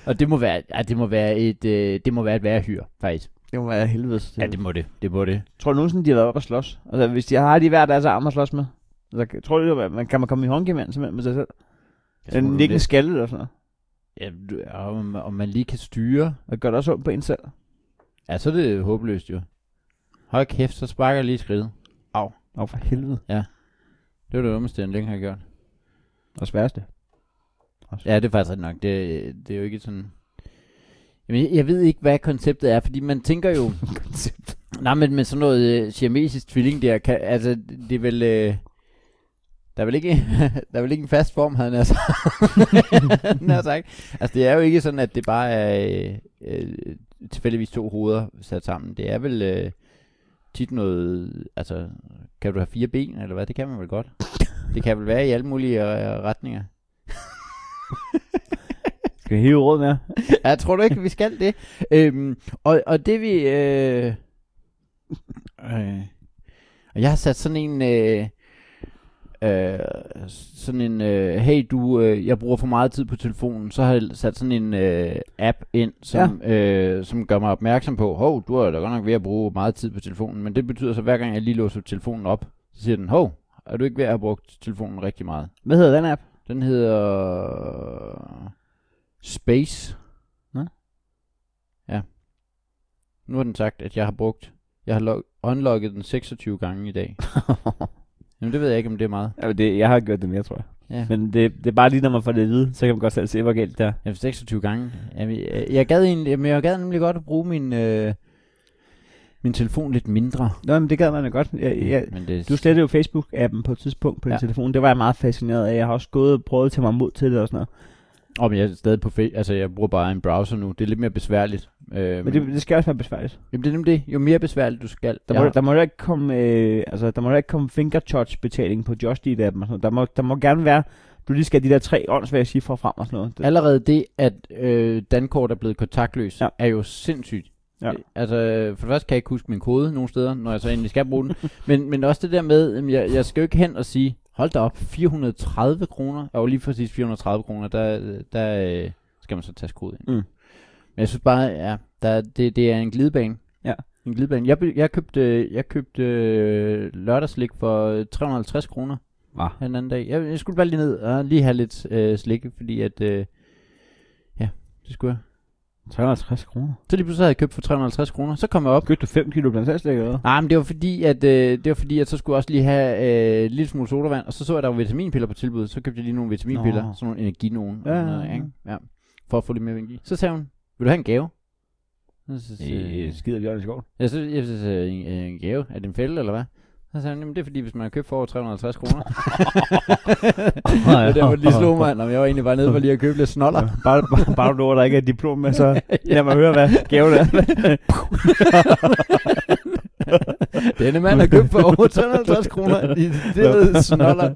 og det må være, ja, det må være et, øh, det må være et værhyr, faktisk. Det må være helvedes. Ja, det... må det. Det må det. Tror du nogensinde, de har været op og slås? Altså, hvis de har de hver deres arm at slås med? Altså, tror du, at man kan man komme i håndgivand simpelthen med sig selv? tror Den du ligger det? skalle eller sådan noget. Ja, du- ja, om, om man lige kan styre. Og gør det også ondt på en selv. Ja, så er det håbløst jo. Hold kæft, så sparker jeg lige skridt. Åh, for helvede. Det var det dummeste, jeg længe har gjort. Og sværeste. Ja, det er faktisk ret nok. Det, det er jo ikke sådan... Jamen, jeg, jeg ved ikke, hvad konceptet er, fordi man tænker jo... Nej, men med sådan noget øh, siamesisk tvilling der, kan, altså, det er vel... Øh, der er vel ikke, der er vel ikke en fast form, havde han altså. nær sagt. Altså, det er jo ikke sådan, at det bare er øh, øh, tilfældigvis to hoveder sat sammen. Det er vel øh, tit noget... Altså, kan du have fire ben, eller hvad? Det kan man vel godt. Det kan vel være i alle mulige øh, retninger. Skal vi hive råd med? Ja, tror du ikke, vi skal det? Øhm, og, og det vi... Øh, øh, og jeg har sat sådan en... Øh, øh, sådan en... Øh, hey, du, øh, jeg bruger for meget tid på telefonen. Så har jeg sat sådan en øh, app ind, som, ja. øh, som gør mig opmærksom på, hov, du er da godt nok ved at bruge meget tid på telefonen. Men det betyder så, hver gang jeg lige låser telefonen op, så siger den, hov, er du ikke ved at have brugt telefonen rigtig meget? Hvad hedder den app? Den hedder Space. Nå. Ja. Nu har den sagt, at jeg har brugt... Jeg har log- unlocket den 26 gange i dag. Jamen, det ved jeg ikke, om det er meget. Ja, det, jeg har gjort det mere, tror jeg. Ja. Men det, det er bare lige, når man får det at vide, så kan man godt selv se, hvor galt det er. Jamen, 26 gange. Jamen, jeg, jeg gad egentlig, men jeg gad nemlig godt at bruge min, øh, min telefon lidt mindre. Nå, men det gad man da godt. Jeg, jeg, Men det, du slettede jo Facebook-appen på et tidspunkt på din ja. Ja. telefon. Det var jeg meget fascineret af. Jeg har også gået og prøvet at tage mig mod til det og sådan noget. Åh, men jeg er stadig på fe- Altså, jeg bruger bare en browser nu. Det er lidt mere besværligt. Øh, Men det, det skal også være besværligt. jamen, det er nemlig det. Jo mere besværligt du skal. Der Jeg må, har- der må jo ikke komme, øh, altså, der må jo ikke komme fingertouch-betaling på Just Eat-appen. Og sådan noget. Der, må, der må gerne være, du lige skal have de der tre åndsvære cifre frem og sådan noget. Det, Allerede det, at øh, Dankort er blevet kontaktløs, Ja. ja. er jo sindssygt. Ja. Altså, for det første kan jeg ikke huske min kode nogen steder, når jeg så endelig skal bruge den. Men, men også det der med, jamen, jeg, jeg skal jo ikke hen og sige, hold da op, 430 kroner. Og lige præcis 430 kroner, der, der øh, skal man så tage kode ind. Mm. Men jeg synes bare, ja, der, det, det er en glidebane. Ja. En glidebane. Jeg, be- jeg købte, jeg købte øh, lørdagslik for øh, 350 kroner Hva? her den anden dag. Jeg, jeg skulle bare lige ned og lige have lidt øh, slik, fordi at, øh, ja, det skulle jeg. 350 kroner. Så lige pludselig havde jeg købt for 350 kroner, så kom jeg op. Købte du 5 kilo blandt selv, eller hvad? Nej, men det var fordi, at, øh, det var fordi, at så skulle jeg også lige have øh, en lille smule sodavand, og så så jeg, at der var vitaminpiller på tilbud, så købte jeg lige nogle vitaminpiller, Nå. sådan nogle energinogen, Ja, ja, noget, ja, ikke? Ja, for at få lidt mere energi. Så sagde hun, vil du have en gave? Så, så, så, Øh, skider Bjørn i skoven. jeg synes, jeg synes øh, en, en gave, er det en fælde, eller hvad? Så sagde han, jamen det er fordi, hvis man har købt for over 350 kroner. det var lige slog mig, om jeg var egentlig bare nede for lige at købe lidt snoller. bare, bare, bare du lover, der ikke er et diplom med, så lad mig høre, hvad gaven er. Denne mand har købt for over 350 kroner i det snoller.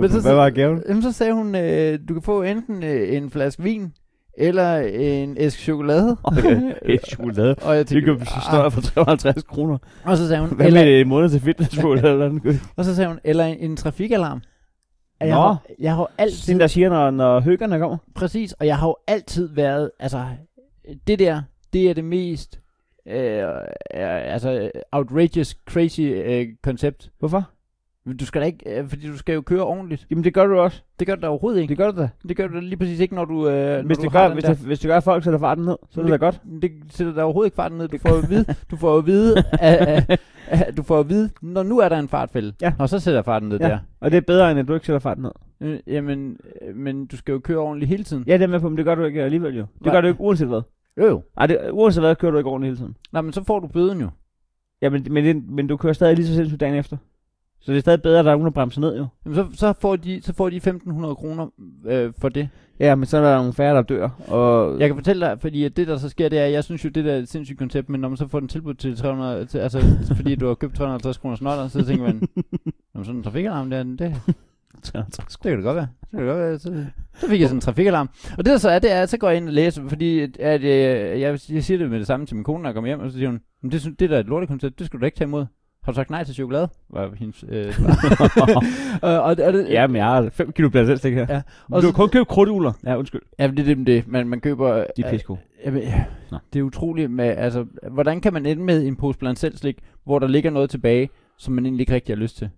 Men så- hvad var gaven? Jamen så sagde hun, øh, du kan få enten øh, en flaske vin, eller en æske chokolade. Et chokolade. og jeg Det tænkte, købte snøjer for 350 kroner. "Ah." og så sagde hun, Hvad med eller, det en måned til fitnessmål eller noget? og så sagde hun, eller en, en trafikalarm. Og Jeg Nå. har, jeg har altid Sådan der siger, når, når høggerne kommer. Præcis, og jeg har jo altid været, altså, det der, det er det mest, øh, øh, altså, outrageous, crazy øh, koncept. Hvorfor? Men du skal da ikke, øh, fordi du skal jo køre ordentligt. Jamen det gør du også. Det gør du da overhovedet ikke. Det gør du da. Det gør du da lige præcis ikke, når du, øh, når Hvis du det har gør, den hvis der. det, hvis det gør at folk sætter farten ned, så er det da godt. Det sætter dig overhovedet ikke farten ned. Du får jo at vide, du får jo at vide, at, at, at, du får at vide, når nu er der en fartfælde. Ja. Og så sætter jeg farten ned Ja. der. Og det er bedre, end at du ikke sætter farten ned. Øh, Jamen, øh, men du skal jo køre ordentligt hele tiden. Ja, det er med på, men det gør du ikke alligevel jo. Det Nej. gør du ikke uanset hvad. Jo jo. Nej, det, uanset hvad kører du ikke ordentligt hele tiden. Nå, men så får du bøden jo. Ja, men, men, det, men du kører stadig lige så sindssygt dagen efter. Så det er stadig bedre, at der er nogen, der bremser ned jo. Jamen, så, så, får de, så får de 1.500 kroner øh, for det. Ja, men så er der nogle færre, der dør. Og Jeg kan fortælle dig, fordi at det der så sker, det er, at jeg synes jo, det der er et sindssygt koncept, men når man så får den tilbud til 300, til, altså fordi du har købt 350 kroner snotter, så tænker man, jamen sådan en trafikalarm, det, er, den- det, det kan det godt være. Det kan det godt være. Så, så fik jeg sådan en trafikalarm. Og det der så er, det er, at så går jeg ind og læser, fordi at, at, øh, jeg, jeg siger det med det samme til min kone, når jeg kommer hjem, og så siger hun, men det, synes- det der er et lortekoncept, det skulle du da ikke tage imod. Har du sagt nej til chokolade? Var hendes øh, svar. og, og, og, det, Ja, men jeg har 5 kilo blandt selv, her. Ja. Ja. Og Og du så- har kun købt krudtugler. Ja, undskyld. ja, det er det, med det. Man, man køber... øh, De er pisko. Jamen, ja. Nå. det er utroligt med, altså, hvordan kan man ende med en pose blandt selv slik, hvor der ligger noget tilbage, som man egentlig ikke rigtig har lyst til?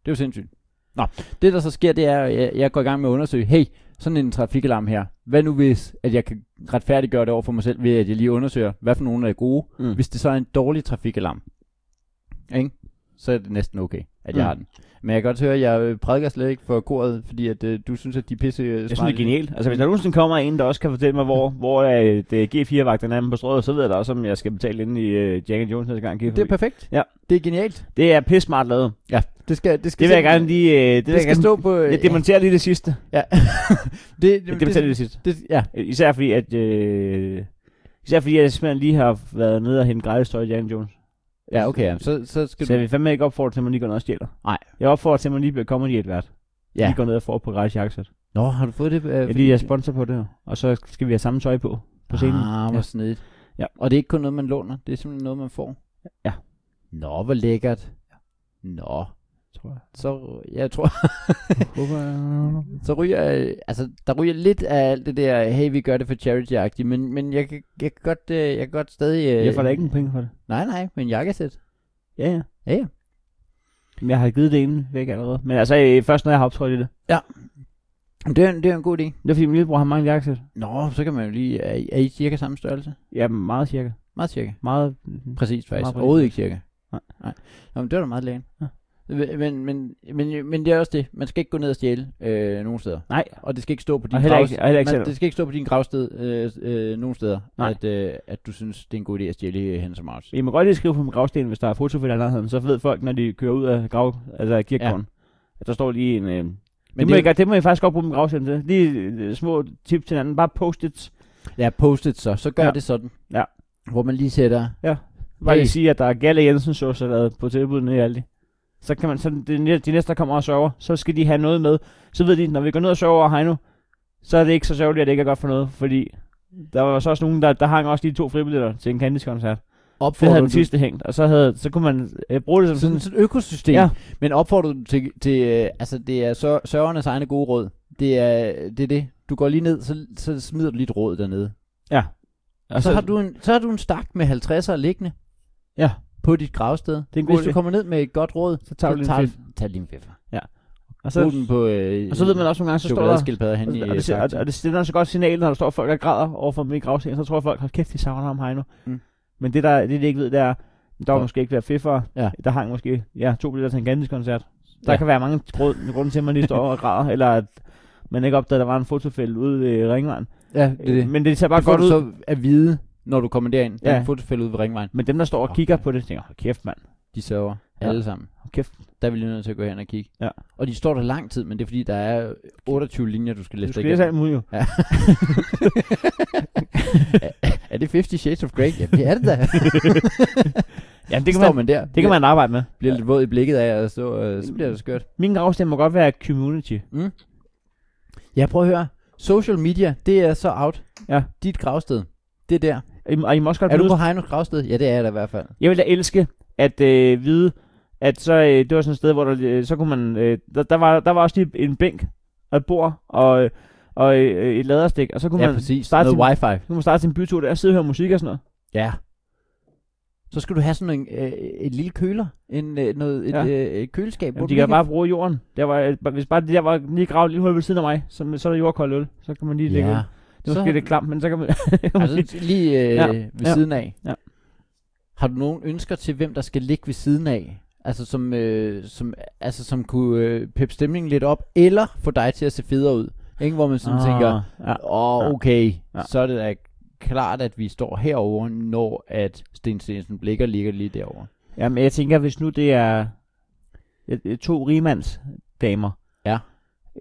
Det er jo sindssygt. Nå, det der så sker, det er, at jeg, jeg går i gang med at undersøge, hey, sådan en trafikalarm her, hvad nu hvis, at jeg kan retfærdiggøre det over for mig selv, ved at jeg lige undersøger, hvad for nogle er gode, Mm. hvis det så er en dårlig trafikalarm, ikke? så er det næsten okay, at jeg Mm. har den. Men jeg kan godt høre, at jeg øh, prædiker slet ikke for koret, fordi at, øh, du synes, at de er pisse øh, Jeg synes, det smarte. er genialt. Altså, hvis der nogensinde kommer en, der også kan fortælle mig, hvor, hvor øh, det G4-vagten er på strøget, så ved jeg da også, om jeg skal betale ind i uh, Jack Jones næste gang. Jeg Det er perfekt. Ja. Det er genialt. det er pisse smart lavet. Ja, det skal, det skal Det vil jeg simpelthen- gerne lige... Øh, det, vil Det, det jeg skal gerne, stå på... Øh, Jeg demonterer lige det sidste. ja. det, Jeg demonterer lige det sidste. det, ja. Især fordi, at... Øh, især fordi, at jeg simpelthen lige har været nede og hente gratis tøj i Jack Jones. ja, okay. Ja. Så, så skal Så jeg du... vil fandme ikke opfordre til, at man lige går ned og stjæler. Nej. Jeg opfordrer til, at man lige bliver kommet i et vært. Ja. Ja. Lige går ned og får på gratis jakkesæt. Nå, har du fået det? Øh, Ja, lige er sponsor på det her. Og så skal vi have samme tøj på på scenen. Ah, hvor ja. Ja. snedigt. Ja. Og det er ikke kun noget, man låner. Det er simpelthen noget, man får. Ja. Nå, hvor lækkert. Nå. tror jeg. Så, jeg tror, Håber jeg. så ryger, øh, altså, der ryger lidt af alt det der, hey, vi gør det for charity-agtigt, men, men jeg, kan, jeg, kan godt, øh, jeg kan godt stadig... øh, Jeg får da ikke en penge for det. Nej, nej, men jakkesæt. Ja, ja. Ja, ja. Men jeg har givet det ene væk allerede. Men altså, øh, først når jeg har optrådt i det. Det er, en- det er en god idé. Det er fordi, min lillebror har mange jakkesæt. Nå, så kan man jo lige... Er, I- er I cirka samme størrelse? Ja, meget cirka. Meget cirka. Meget. mm. Præcis, faktisk. præcis. Overhovedet ikke cirka. Nej. Nej. Nå, men det var da meget lægen. Ja. Men, men, men, men det er også det. Man skal ikke gå ned og stjæle øh, nogen steder. Nej. Og det skal ikke stå på din Og heller gravs- ikke- og heller ikke man, selv. Det skal ikke stå på din gravsted øh, øh, nogen steder, Nej. at, øh, at du synes, det er en god idé at stjæle øh, hen som Mars. Jeg må godt lige skrive på min gravsten, hvis der er foto for nærheden. Så ved folk, når de kører ud af grav, altså af kirkegården. Ja. At der står lige en... Øh, men det, må det- det, jeg, det må jeg faktisk godt bruge min gravsten til. Lige øh, små tip til hinanden. Bare post-its. Ja, postet så. Så gør ja. Ja. det sådan. Ja. Hvor man lige sætter... Bare Hey. lige sige, at der er Galle Jensen sauce på tilbud nede i Aldi. Så kan man, så de, de næste, der kommer og sover, så skal de have noget med. Så ved de, når vi går ned og sover og nu, så er det ikke så sørgeligt, at det ikke er godt for noget. Fordi der var så også nogen, der, der hang også lige to fribilletter til en Candice-koncert. Det Opfordrer havde den du, sidste hængt, og så, havde, så kunne man øh, bruge det som sådan, sådan... sådan et økosystem. Ja. Ja. Men opfordrer du til, til øh, altså det er sør- sørgernes egne gode råd. Det er, det er det. Du går lige ned, så, så smider du lige et råd dernede. Ja. Og så, har du en, så har du en stak med 50'er liggende Ja. på dit gravsted. er en god Hvis du idé. kommer ned med et godt råd, Så tager du lige en fif. tag lige en fiffer. Og Brug så, den på øh, og så ved man også nogle gange, så står der... chokoladeskildpadder hen i Og, og, øh, det, og, og stakten. det sender så godt signal, når der står folk, der græder over for mig gravsten, så tror jeg, folk, hold kæft, de savner ham her nu. Mm. Mm. Men det, der, det, de ikke ved, det er, der var Ja. måske ikke været fiffer. Ja. Der hang måske ja, to billetter til en Gandis-koncert. Der Ja. ja. kan være mange grund- grunde til, at man lige står og græder, eller at man ikke opdagede, at der var en fotofælde ude ved Ringvejen. Ja, det er det. Men det ser bare Det får godt du ud. så at vide, når du kommer derind. Ja. Ja. Den fotofælde ude ved ringvejen. Men dem, der står og Åh, kigger ja. på det, tænker, hold kæft mand, de server. Ja. Ja. Alle sammen. Kæft. Der er vi lige nødt til at gå hen og kigge. Ja. Og de står der lang tid, men det er fordi, der er 28 linjer, du skal Du læse skal igennem. læse alt muligt jo. Ja. er det 50 Shades of Grey? Ja, det er det da. Jamen, Det det kan kan, Står man, man der. det kan man arbejde med. Bliver lidt våd i blikket af, og så, øh, så bliver det skørt. Min gravsten må godt være community. Mm. Ja, prøv at høre. Social media, det er så out. Ja. Dit gravsted, det er der. Og I, og I må også godt Er du vide- på Heinos gravsted? Ja, det er jeg da i hvert fald. Jeg ville da elske at øh, vide, at så, øh, det var sådan et sted, hvor der, øh, så kunne man, øh, der, der, var, der var også lige en bænk og et bord og, øh, og øh, et laderstik, og så kunne Ja, man præcis. starte Noget sin, wifi. så kunne man starte sin bytur der og sidde og høre musik og sådan noget. Ja. Så skal du have sådan en, øh, et lille køler, en, øh, noget, et, Ja. øh, et køleskab. hvor Jamen, du de kan lige bare bruge jorden. Der var, hvis bare det der var lige gravet lige hul ved siden af mig, så, så er der jordkold øl. Så kan man lige lægge Ja. ja. Det er måske Så- lidt klamt, men så kan man... Altså lige øh, ja. Ja, ved ja. ja. siden af. Ja. Har du nogen ønsker til, hvem der skal ligge ved siden af? Altså som, øh, som, altså, som kunne øh, peppe stemningen lidt op, eller få dig til at se federe ud. Ikke? Hvor man sådan ah. tænker, Ja. åh Ja. oh, okay, Ja. ja. så er det da klart, at vi står herover, når at Sten Stensen Blikker ligger lige derovre. Jamen, jeg tænker, hvis nu det er øh, øh, to rimandsdamer, Ja.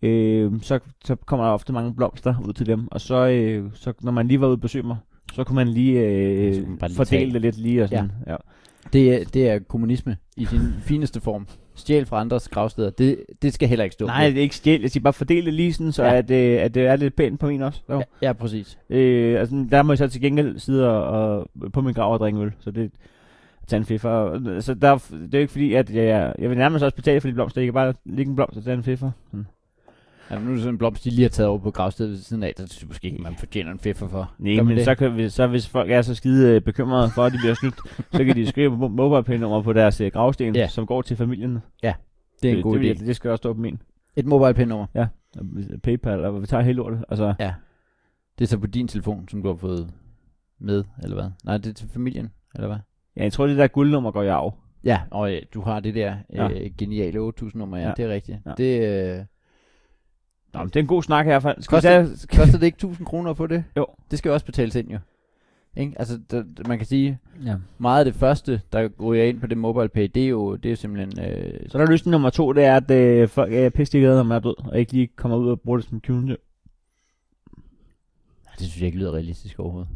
øh, så, så kommer der ofte mange blomster ud til dem, og så, øh, så når man lige var ude og besøge mig, så kunne man lige, øh, Ja, så kunne man bare lige fordele tage. det lidt lige og sådan. Ja. ja. Det er, det er kommunisme i sin fineste form. Stjæl fra andres gravsteder. Det, det skal heller ikke stå. Nej, det er ikke stjæl, jeg siger bare fordele det lige sådan, så ja. Ja. at, øh, at det er lidt pænt på min også. Jo. ja, ja, præcis. Øh, altså, der må jeg så til gengæld sidde og, og på min grav og drikke øl, så det tage en fiffer. Og- Så der, det er jo ikke fordi, at jeg, jeg vil nærmest også betale for de blomster. Jeg kan bare lægge en blomst og tage en fiffer. Sådan. Altså, nu er det sådan en blomst, de lige har taget over på gravstedet ved siden af. Der synes jeg måske ikke, man fortjener en fiffer for. Nej, Gør man men det? så, kan vi, så hvis folk er så skide øh, bekymrede for, at de bliver snydt, så kan de skrive mo- mobile-nummer på deres øh, gravsten, Ja. som går til familien. Det er en god det, idé. Det, det skal også stå på min. Et mobile pin nummer. Og hvis- Paypal, og vi tager hele lortet. Altså, Ja. Det er så på din telefon, som du har fået med, eller hvad? Nej, det er til familien, eller hvad? ja, jeg tror, det der guldnummer går i arv. Ja, og øh, du har det der Ja. øh, geniale 8000 nummer, ja, Ja. ja. det er rigtigt. Ja. Ja. Det øh, Nå, men det er en god snak i hvert fald. Skal vi Koster- tage- skal- koster det ikke 1000 kroner at få det? Jo. Det skal jo også betales ind, jo. Ikke? Altså, der, der- man kan sige, Ja. meget af det første, der ryger ind på det mobile pay, det er jo, det er jo simpelthen... Øh, Så der er løsning nummer to, det er, at øh, folk er pisse glade, når man er død, og ikke lige kommer ud og bruger det som community. Nej, det synes jeg ikke lyder realistisk overhovedet.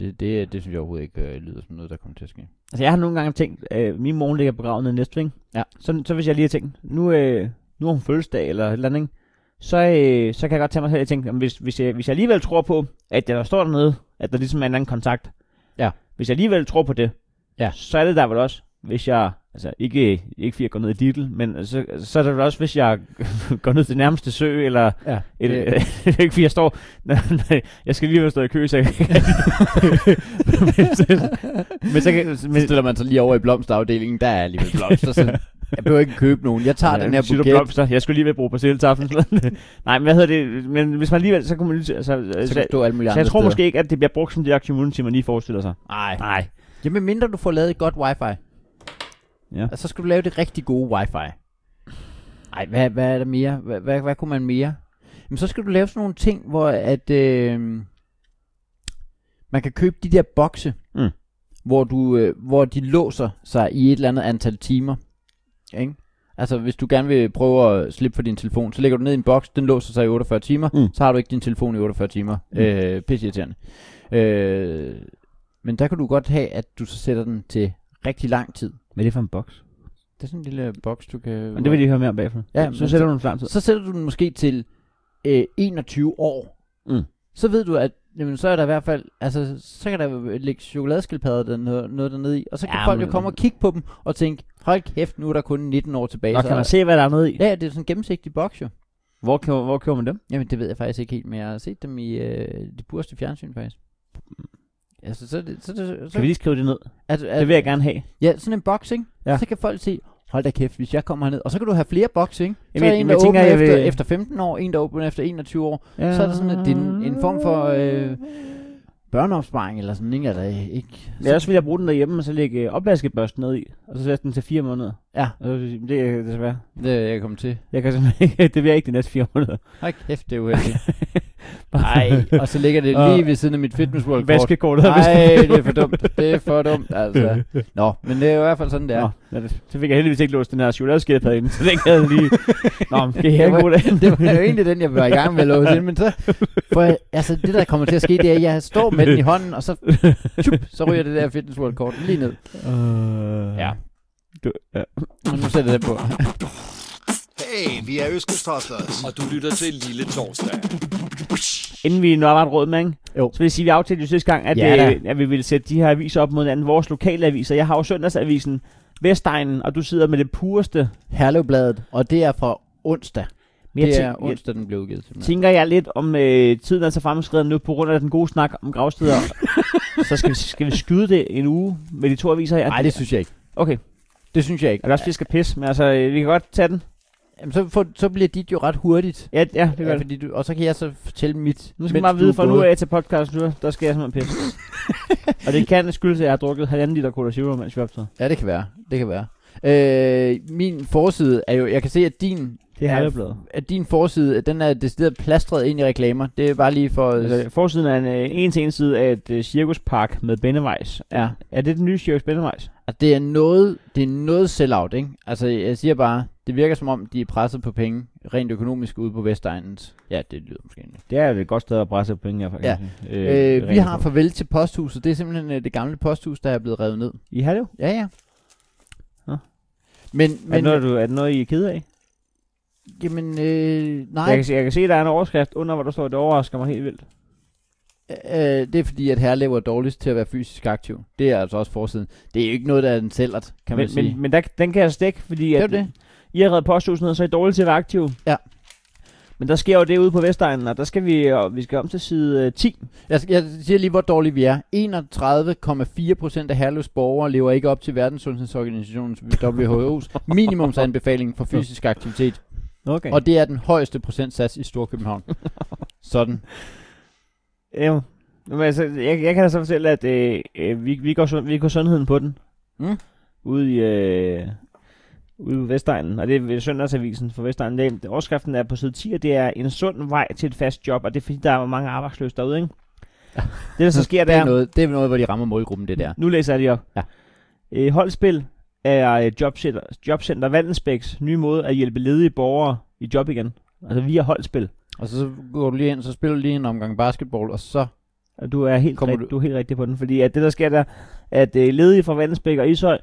Det, det, det synes jeg overhovedet ikke øh, lyder som noget, der kommer til at ske. Altså, jeg har nogle gange tænkt, øh, min mor hun ligger begravet nede i Næstved, ikke? Ja. Så, så hvis jeg lige har tænkt, nu, øh, nu har hun fødselsdag eller et eller andet, ikke? Så, øh, så kan jeg godt tage mig selv og tænke, jamen, hvis, hvis, jeg, hvis jeg alligevel tror på, at der står dernede, at der ligesom er en anden kontakt. Ja. Hvis jeg alligevel tror på det, Ja. så er det der vel også, hvis jeg, altså ikke, ikke fordi jeg går ned i Diddle, men øh, så, så er det vel også, hvis jeg går ned til nærmeste sø, eller Ja, Et, øh, det er ikke fordi jeg står Jeg skal lige være stået i kø Så jeg kan men, så- men, så kan, Så men, stiller man sig lige over i blomsterafdelingen, der er alligevel blomster, så jeg behøver ikke købe nogen. Jeg tager ja, den her siger du buket, blomster? Jeg skulle lige ved at bruge persilletaffen Nej men hvad hedder det Men hvis man alligevel Så kunne man lige altså, så Så, kan du så, stå alle mulige så andre jeg tror steder. måske ikke At det bliver brugt som det der community Man lige forestiller sig Nej. Nej Jamen mindre du får lavet et godt wifi, Ja. og så skal du lave det rigtig gode wifi. Nej, hvad, hvad er der mere? Hvad, hvad, hvad kunne man mere? Jamen så skal du lave sådan nogle ting, hvor at øh, man kan købe de der bokse, Mm. hvor, du, øh, hvor de låser sig i et eller andet antal timer. Ikke? Altså hvis du gerne vil prøve at slippe for din telefon, så lægger du ned i en boks, den låser sig i 48 timer, Mm. så har du ikke din telefon i 48 timer. Mm. Mm. Øh, pisseirriterende. Øh, men der kan du godt have, at du så sætter den til rigtig lang tid. Hvad er det for en boks? Det er sådan en lille boks, du kan... Men det vil de høre mere om bagefter Ja, Så men- sætter du en flam tid Så sætter du den måske til øh, 21 år. Mm. Så ved du, at jamen, så er der i hvert fald... Altså, så kan der ligge chokoladeskildpadder der, noget, noget dernede i. Og så kan Ja, ja, folk men- jo komme og kigge på dem og tænke, hold kæft, nu er der kun 19 år tilbage. Nå så kan man se hvad der er nede i Ja, det er sådan en gennemsigtig boks jo. Hvor, køber, hvor køber man dem? Jamen, det ved jeg faktisk ikke helt, men jeg har set dem i øh, det burste fjernsyn faktisk. Altså, så, er det- så, så, så Mm. Kan vi lige skrive det ned? at, at, Det vil jeg gerne have Ja, sådan en boks, ikke? Ja. Ja. Så kan folk se, hold da kæft, hvis jeg kommer herned. Og så kan du have flere boks, ikke? Jamen, så er jeg- en, jeg der tænker, åbner jeg efter, vil- efter 15 år, en, der åbner efter 21 år. Så er det sådan, at det er en- en form for, øh, Børneopsparing eller sådan, ikke? Er der ikke? Ja, så vil jeg bruge den derhjemme, og så lægge øh, opvaskebørsten ned i, og så sætte den til fire måneder. Ja, Og så vil jeg sige, det er desværre. det er jeg kommet til. Jeg kan simpelthen ikke, det bliver ikke de næste fire måneder. Hold kæft, det er uheldigt. Nej, og så ligger det lige ved siden af mit Fitness World kort. Vaskekortet. Nej, det er for dumt. Det er for dumt, altså. Nå, men det er jo i hvert fald sådan, det er. Nå, ja, det, så fik jeg heldigvis ikke låst den her chokoladeskildpadde ind, så den kan jeg lige... Nå, men det er Det ikke var- god dag. det var jo egentlig den, jeg var i gang med at låse ind, men så, for jeg, altså det der kommer til at ske, det er, at jeg står med den i hånden, og så, tjup, så ryger det der Fitness World kort lige ned. Uh, Ja. Du, ja. Og nu sætter jeg den på. Hey, vi er Øskelstoflers. Og du lytter til Lille Torsdag. Inden vi nu har råd med, ikke? Jo. så vil jeg sige, at vi aftalte jo sidste gang, at, Ja, ja, da. øh, at vi ville sætte de her aviser op mod hinanden. Vores lokale aviser. Jeg har jo søndagsavisen Vestegnen, og du sidder med det pureste. Herlevbladet, og det er fra onsdag. Men jeg, det tæ- er jeg onsdag, den blev udgivet. simpelthen. tænker jeg lidt om øh, tiden er så fremskreden nu på grund af den gode snak om gravsteder. så skal vi, skal vi skyde det en uge med de to aviser her? Nej, det synes jeg ikke. Okay, Det synes jeg er ikke. det også, vi skal pisse, men altså, øh, vi kan godt tage den. Jamen, så, for, så bliver dit jo ret hurtigt. Ja, ja det Ja, gør det. fordi du, og så kan jeg så fortælle mit. Nu skal mens man bare du vide, er fra nu gået. af til podcasten, nu, der skal jeg simpelthen pisse. og det kan skyldes, at jeg har drukket halvanden liter Cola Zero, mens vi optager. Ja, det kan være. Det kan være. Øh, min forside er jo, jeg kan se, at din, Det er er Herrebladet. halvbladet. at din forside, at den er decideret plastret ind i reklamer. Det er bare lige for... Altså, forsiden er en øh, en-til-en side af et øh, cirkuspark med Bennevejs. ja. Er det den nye cirkus Bennevejs? Altså, det er noget, det er noget sellout, ikke? Altså, jeg siger bare, det virker som om, de er presset på penge, rent økonomisk ude på Vestegnens. Ja, det lyder måske egentlig. Det er jo et godt sted at presse penge, jeg faktisk. Ja. Øh, vi har farvel til posthuset. Det er simpelthen øh, det gamle posthus, der er blevet revet ned. I har det jo. Ja, ja. Nå. Men, Er det, men, noget, du, er det noget, I er ked af? jamen, øh, nej, Jeg kan, se, jeg kan se, der er en overskrift under, hvor der står, at det overrasker mig helt vildt. øh, det er fordi, at herlever er dårligst til at være fysisk aktiv. Det er altså også forsiden. Det er jo ikke noget, der er en sællert, kan man men, sige. men, men der, den kan jeg stikke, fordi det er at, jo det. I har reddet posthuset ned, så er I dårlige til at være aktive. Ja. Men der sker jo det ude på Vestegnen, og der skal vi, og vi skal om til side øh, 10. Jeg, jeg siger lige, hvor dårlige vi er. 31,4 procent af Herlevs borgere lever ikke op til Verdenssundhedsorganisationens WHO's minimumsanbefaling for fysisk aktivitet. Okay. Og Og det er den højeste procentsats i Storkøbenhavn. Sådan. ja, men altså, jeg, jeg kan da så fortælle, at øh, øh, vi, vi, går, sund- vi går sundheden på den. Mm. Ude i... Øh, ude på Vestegnen, og det er ved Søndagsavisen for Vestegnen. Det, er- overskriften er på side 10, og det er en sund vej til et fast job, og det er fordi, der er mange arbejdsløse derude, ikke? Det, der så sker, Altså, Det det er, er, noget, det er noget, hvor de rammer målgruppen, det der. Nu læser jeg lige op. Ja. Øh, holdspil er øh, Jobcenter, Jobcenter Vandensbæks nye måde at hjælpe ledige borgere i job igen. Altså via holdspil. Og så, så går du lige ind, så spiller du lige en omgang basketball, og så... Og du er helt, Kommer rigt, du- du? Du er helt rigtig på den. Fordi at det, der sker der, at øh, ledige fra Vandensbæk og Ishøj,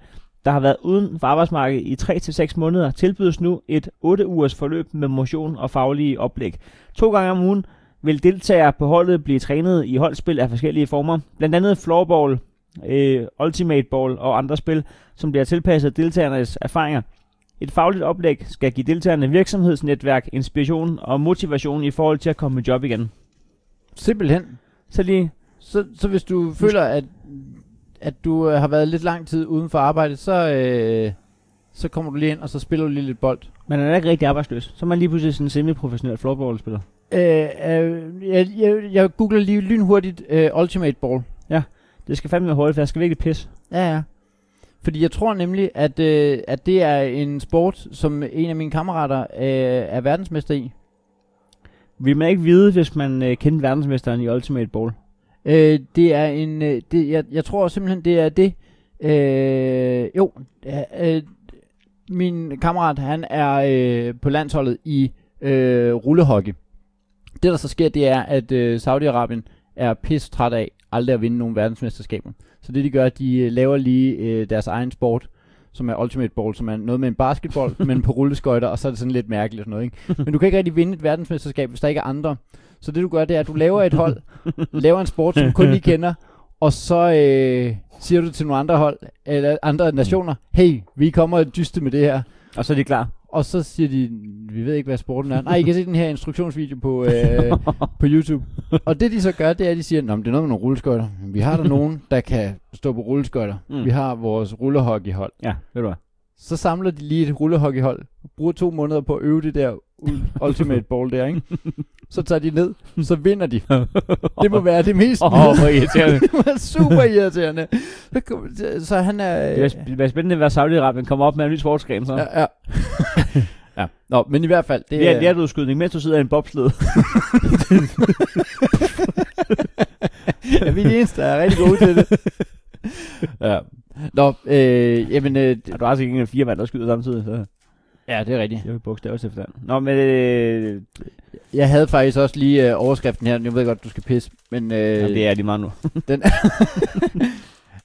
der har været uden for arbejdsmarkedet i 3-6 måneder, tilbydes nu et 8-ugers forløb med motion og faglige oplæg. To gange om ugen vil deltagere på holdet blive trænet i holdspil af forskellige former. Blandt andet floorball, øh, ultimate ball og andre spil, som bliver tilpasset deltagernes erfaringer. Et fagligt oplæg skal give deltagerne virksomhedsnetværk, inspiration og motivation i forhold til at komme i job igen. Simpelthen. Så lige Så, så hvis du føler, at, at du øh, har været lidt lang tid uden for arbejde, så, øh, så kommer du lige ind, og så spiller du lige lidt bold. Man er da ikke rigtig arbejdsløs. Så er man lige pludselig sådan en semi-professionel floorballspiller. Øh, øh, jeg, jeg, jeg googler lige lynhurtigt øh, Ultimate Ball. Det skal fandme være hurtigt, for jeg skal virkelig pisse. Ja, ja. Fordi jeg tror nemlig, at, øh, at det er en sport, som en af mine kammerater øh, er verdensmester i. Vil man ikke vide, hvis man øh, kendte verdensmesteren i Ultimate Ball? Øh, det er en... Øh, det, jeg, jeg tror simpelthen, det er det. Øh, jo, ja, øh, min kammerat, han er øh, på landsholdet i øh, rullehockey. Det, der så sker, det er, at øh, Saudi-Arabien er pis træt af aldrig at vinde nogen verdensmesterskaber. Så det, de gør, de øh, laver lige øh, deres egen sport, som er Ultimate Ball, som er noget med en basketball, men på rulleskøjter, og så er det sådan lidt mærkeligt og sådan noget. Ikke? Men du kan ikke rigtig vinde et verdensmesterskab, hvis der ikke er andre. Så det, du gør, det er, at du laver et hold, laver en sport, som kun I kender, og så øh, siger du til nogle andre hold, eller andre nationer, hey, vi kommer og dyste med det her. Og så er de klar. Og så siger de, vi ved ikke, hvad sporten er. Nej, I kan se den her instruktionsvideo på, øh, på YouTube. Og det de så gør, det er, at de siger, Nå, men det er noget med nogle rulleskøjter. Vi har der nogen, der kan stå på rulleskøjter. Mm. Mm. Vi har vores rullehockeyhold. Ja, ved du hvad? Så samler de lige et rullehockeyhold, bruger to måneder på at øve det der ul- ultimate ball der, ikke? Så tager de ned, så vinder de. Det må være det mest Åh, oh, hvor irriterende. det var super irriterende. Så kom- så- Så han er... øh, Det var- Det var spændende, hvad Saudi-Arabien kommer op med en ny sportsgren, så. Ja. Ja, ja. ja. Nå, men i hvert fald, det, Det er en lærtudskydning, mens du sidder i en bobsled. ja, vi er de eneste, der er rigtig gode til det. Ja. Nå, øh, jamen, øh, Ja, det- du har altså ikke engang fire mand, der skyder samtidig, så ja, det er rigtigt. det er jo bogstavet til forstand. Nå, men øh, Jeg havde faktisk også lige øh, overskriften her, jeg ved godt, du skal pisse, men øh, jamen, det er de meget nu.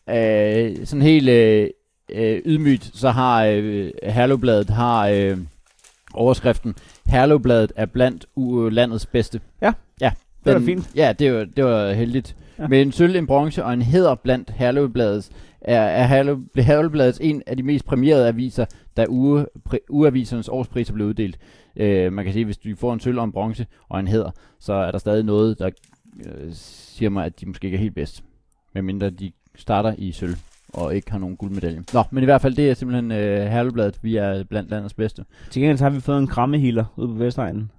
øh, sådan helt øh, øh, ydmygt, så har øh, Herlevbladet har øh, overskriften, Herlevbladet er blandt u- landets bedste. Ja. ja Det var da fint. Ja, det var, det var heldigt. Ja. Ja. Med en sølv, en bronze og en hæder blandt Herlevbladets, er, er Herlev, blev Herlevbladet en af de mest præmierede aviser, da uge, præ, ugeavisernes årspriser blev uddelt. Øh, man kan sige, hvis du får en sølv og en bronze og en hæder, så er der stadig noget, der øh, siger mig, at de måske ikke er helt bedst. Medmindre de starter i sølv og ikke har nogen guldmedalje. Nå, men i hvert fald, det er simpelthen øh, Herlevbladet, vi er blandt landets bedste. Til gengæld så har vi fået en krammehiler ude på Vestegnen.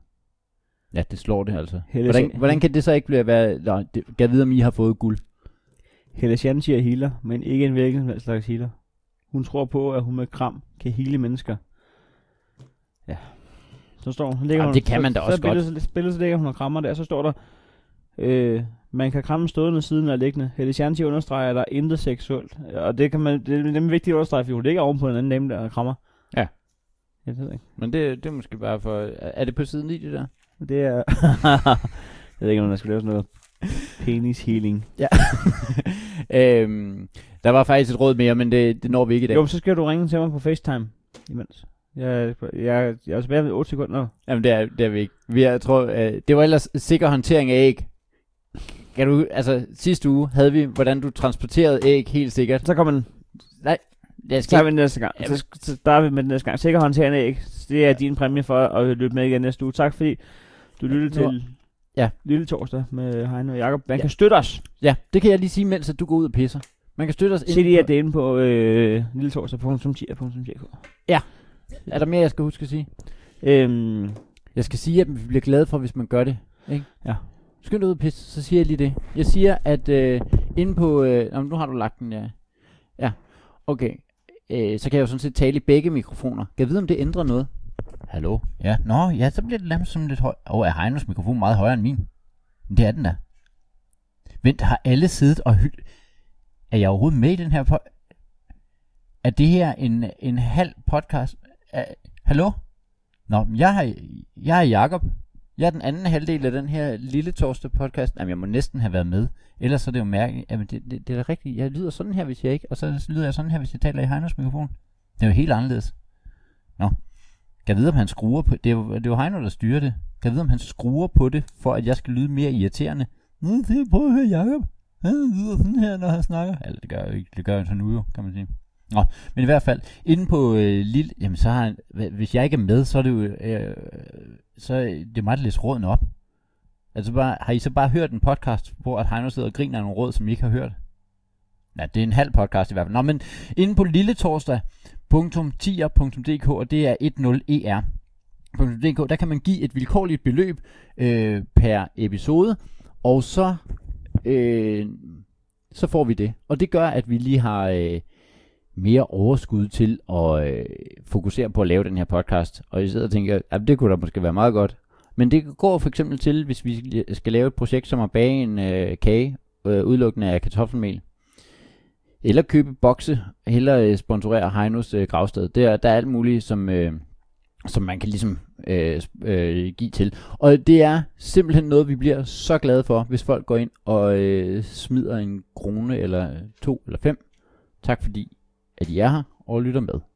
Ja, det slår det altså. Helles- Hvordan, hvordan kan det så ikke blive, hvad, nej, det, kan vide, om I har fået guld? Helle Shanti er healer, men ikke en hvilken som helst slags healer. Hun tror på, at hun med kram kan hele mennesker. Ja. Så står hun. så ligger Jamen, hun det kan så- man da også så billedet, Så billedet så ligger hun og krammer der, så står der, øh, man kan kramme stående siden og liggende. Helle Shanti understreger, at der er intet seksuelt. Og det, kan man, det er nemlig vigtigt at understrege, fordi hun ligger oven på en anden dame, der krammer. Ja. Jeg ved ikke. Men det, det er måske bare for... Er det på siden i det der? Det er... jeg ved ikke, om der skulle lave sådan noget penis healing. øhm, der var faktisk et råd mere, men det, det når vi ikke i dag. Jo, men så skal du ringe til mig på FaceTime imens. Jeg, jeg, jeg er tilbage ved 8 sekunder. Jamen, det er, det er vi ikke. Vi er, jeg tror, øh, det var ellers sikker håndtering af æg. Kan du, altså, sidste uge havde vi, hvordan du transporterede æg helt sikkert. Så kommer den. Jeg skal Så tager ikke, vi den næste gang. Ja. Så, så starter vi med den næste gang. Sikker håndterende ikke. Det er din præmie for at lytte med igen næste uge. Tak fordi du lyttede Ja, til Ja. Lille Torsdag med Heino og Jacob. Man Ja. kan støtte os. ja, det kan jeg lige sige, mens at du går ud og pisser. Man kan støtte os Se lige, på- at det er inde på øh, lilletorsdag.tier.dk. Er der mere, jeg skal huske at sige? Øhm, Jeg skal sige, at vi bliver glade for, hvis man gør det. Ikke? Ja. Skynd dig ud og pisse, så siger jeg lige det. Jeg siger, at øh, inde på... Øh, jamen, nu har du lagt den, ja. Ja, okay. Øh, så kan jeg jo sådan set tale i begge mikrofoner. Kan jeg vide, om det ændrer noget? Hallo? Ja, nå, ja, så bliver det nærmest sådan lidt højt. Åh, oh, er Heinos mikrofon meget højere end min? Men Det er den da. Vent, har alle siddet og hyldt... Er jeg overhovedet med i den her... Po- er det her en, en halv podcast? Er, hallo? Nå, men jeg, har, jeg er Jakob. Jeg er den anden halvdel af den her lille torsdag podcast. Jamen, jeg må næsten have været med. Ellers er det jo mærkeligt. Jamen, det, det, det er da rigtigt. Jeg lyder sådan her, hvis jeg ikke... Og så lyder jeg sådan her, hvis jeg taler i Heinos mikrofon. Det er jo helt anderledes. Nå. Kan jeg vide, om han skruer på... Det er jo, det er jo Heino, der styrer det. Kan jeg vide, om han skruer på det, for at jeg skal lyde mere irriterende? Nu det er prøv at høre Jacob. Han lyder sådan her, når han snakker. Altså, det gør jeg jo ikke. Det gør han så nu jo, kan man sige. Nå, men i hvert fald, inde på øh, Lille, jamen så har han, hva- hvis jeg ikke er med, så er det jo, øh, så er det er mig, der læser rådene op. Altså bare, har I så bare hørt en podcast, hvor at Heino sidder og griner af nogle råd, som I ikke har hørt? Nej, det er en halv podcast i hvert fald. Nå, men inde på lilletorsdag.tier.dk, og det er E 10er.dk, der kan man give et vilkårligt beløb øh, per episode, og så, øh, så får vi det. Og det gør, at vi lige har... Øh, mere overskud til at øh, fokusere på at lave den her podcast. Og jeg sidder og tænker, at det kunne da måske være meget godt. Men det går for eksempel til, hvis vi skal- skal lave et projekt, som at bage en øh, kage øh, udelukkende af kartoffelmel. Eller købe bokse, eller øh, sponsorere Heinos øh, gravsted. Der, der er alt muligt, som, øh, som man kan ligesom øh, sp- øh, give til. Og det er simpelthen noget, vi bliver så glade for, hvis folk går ind og øh, smider en krone, eller to, eller fem. Tak fordi at I er her og lytter med.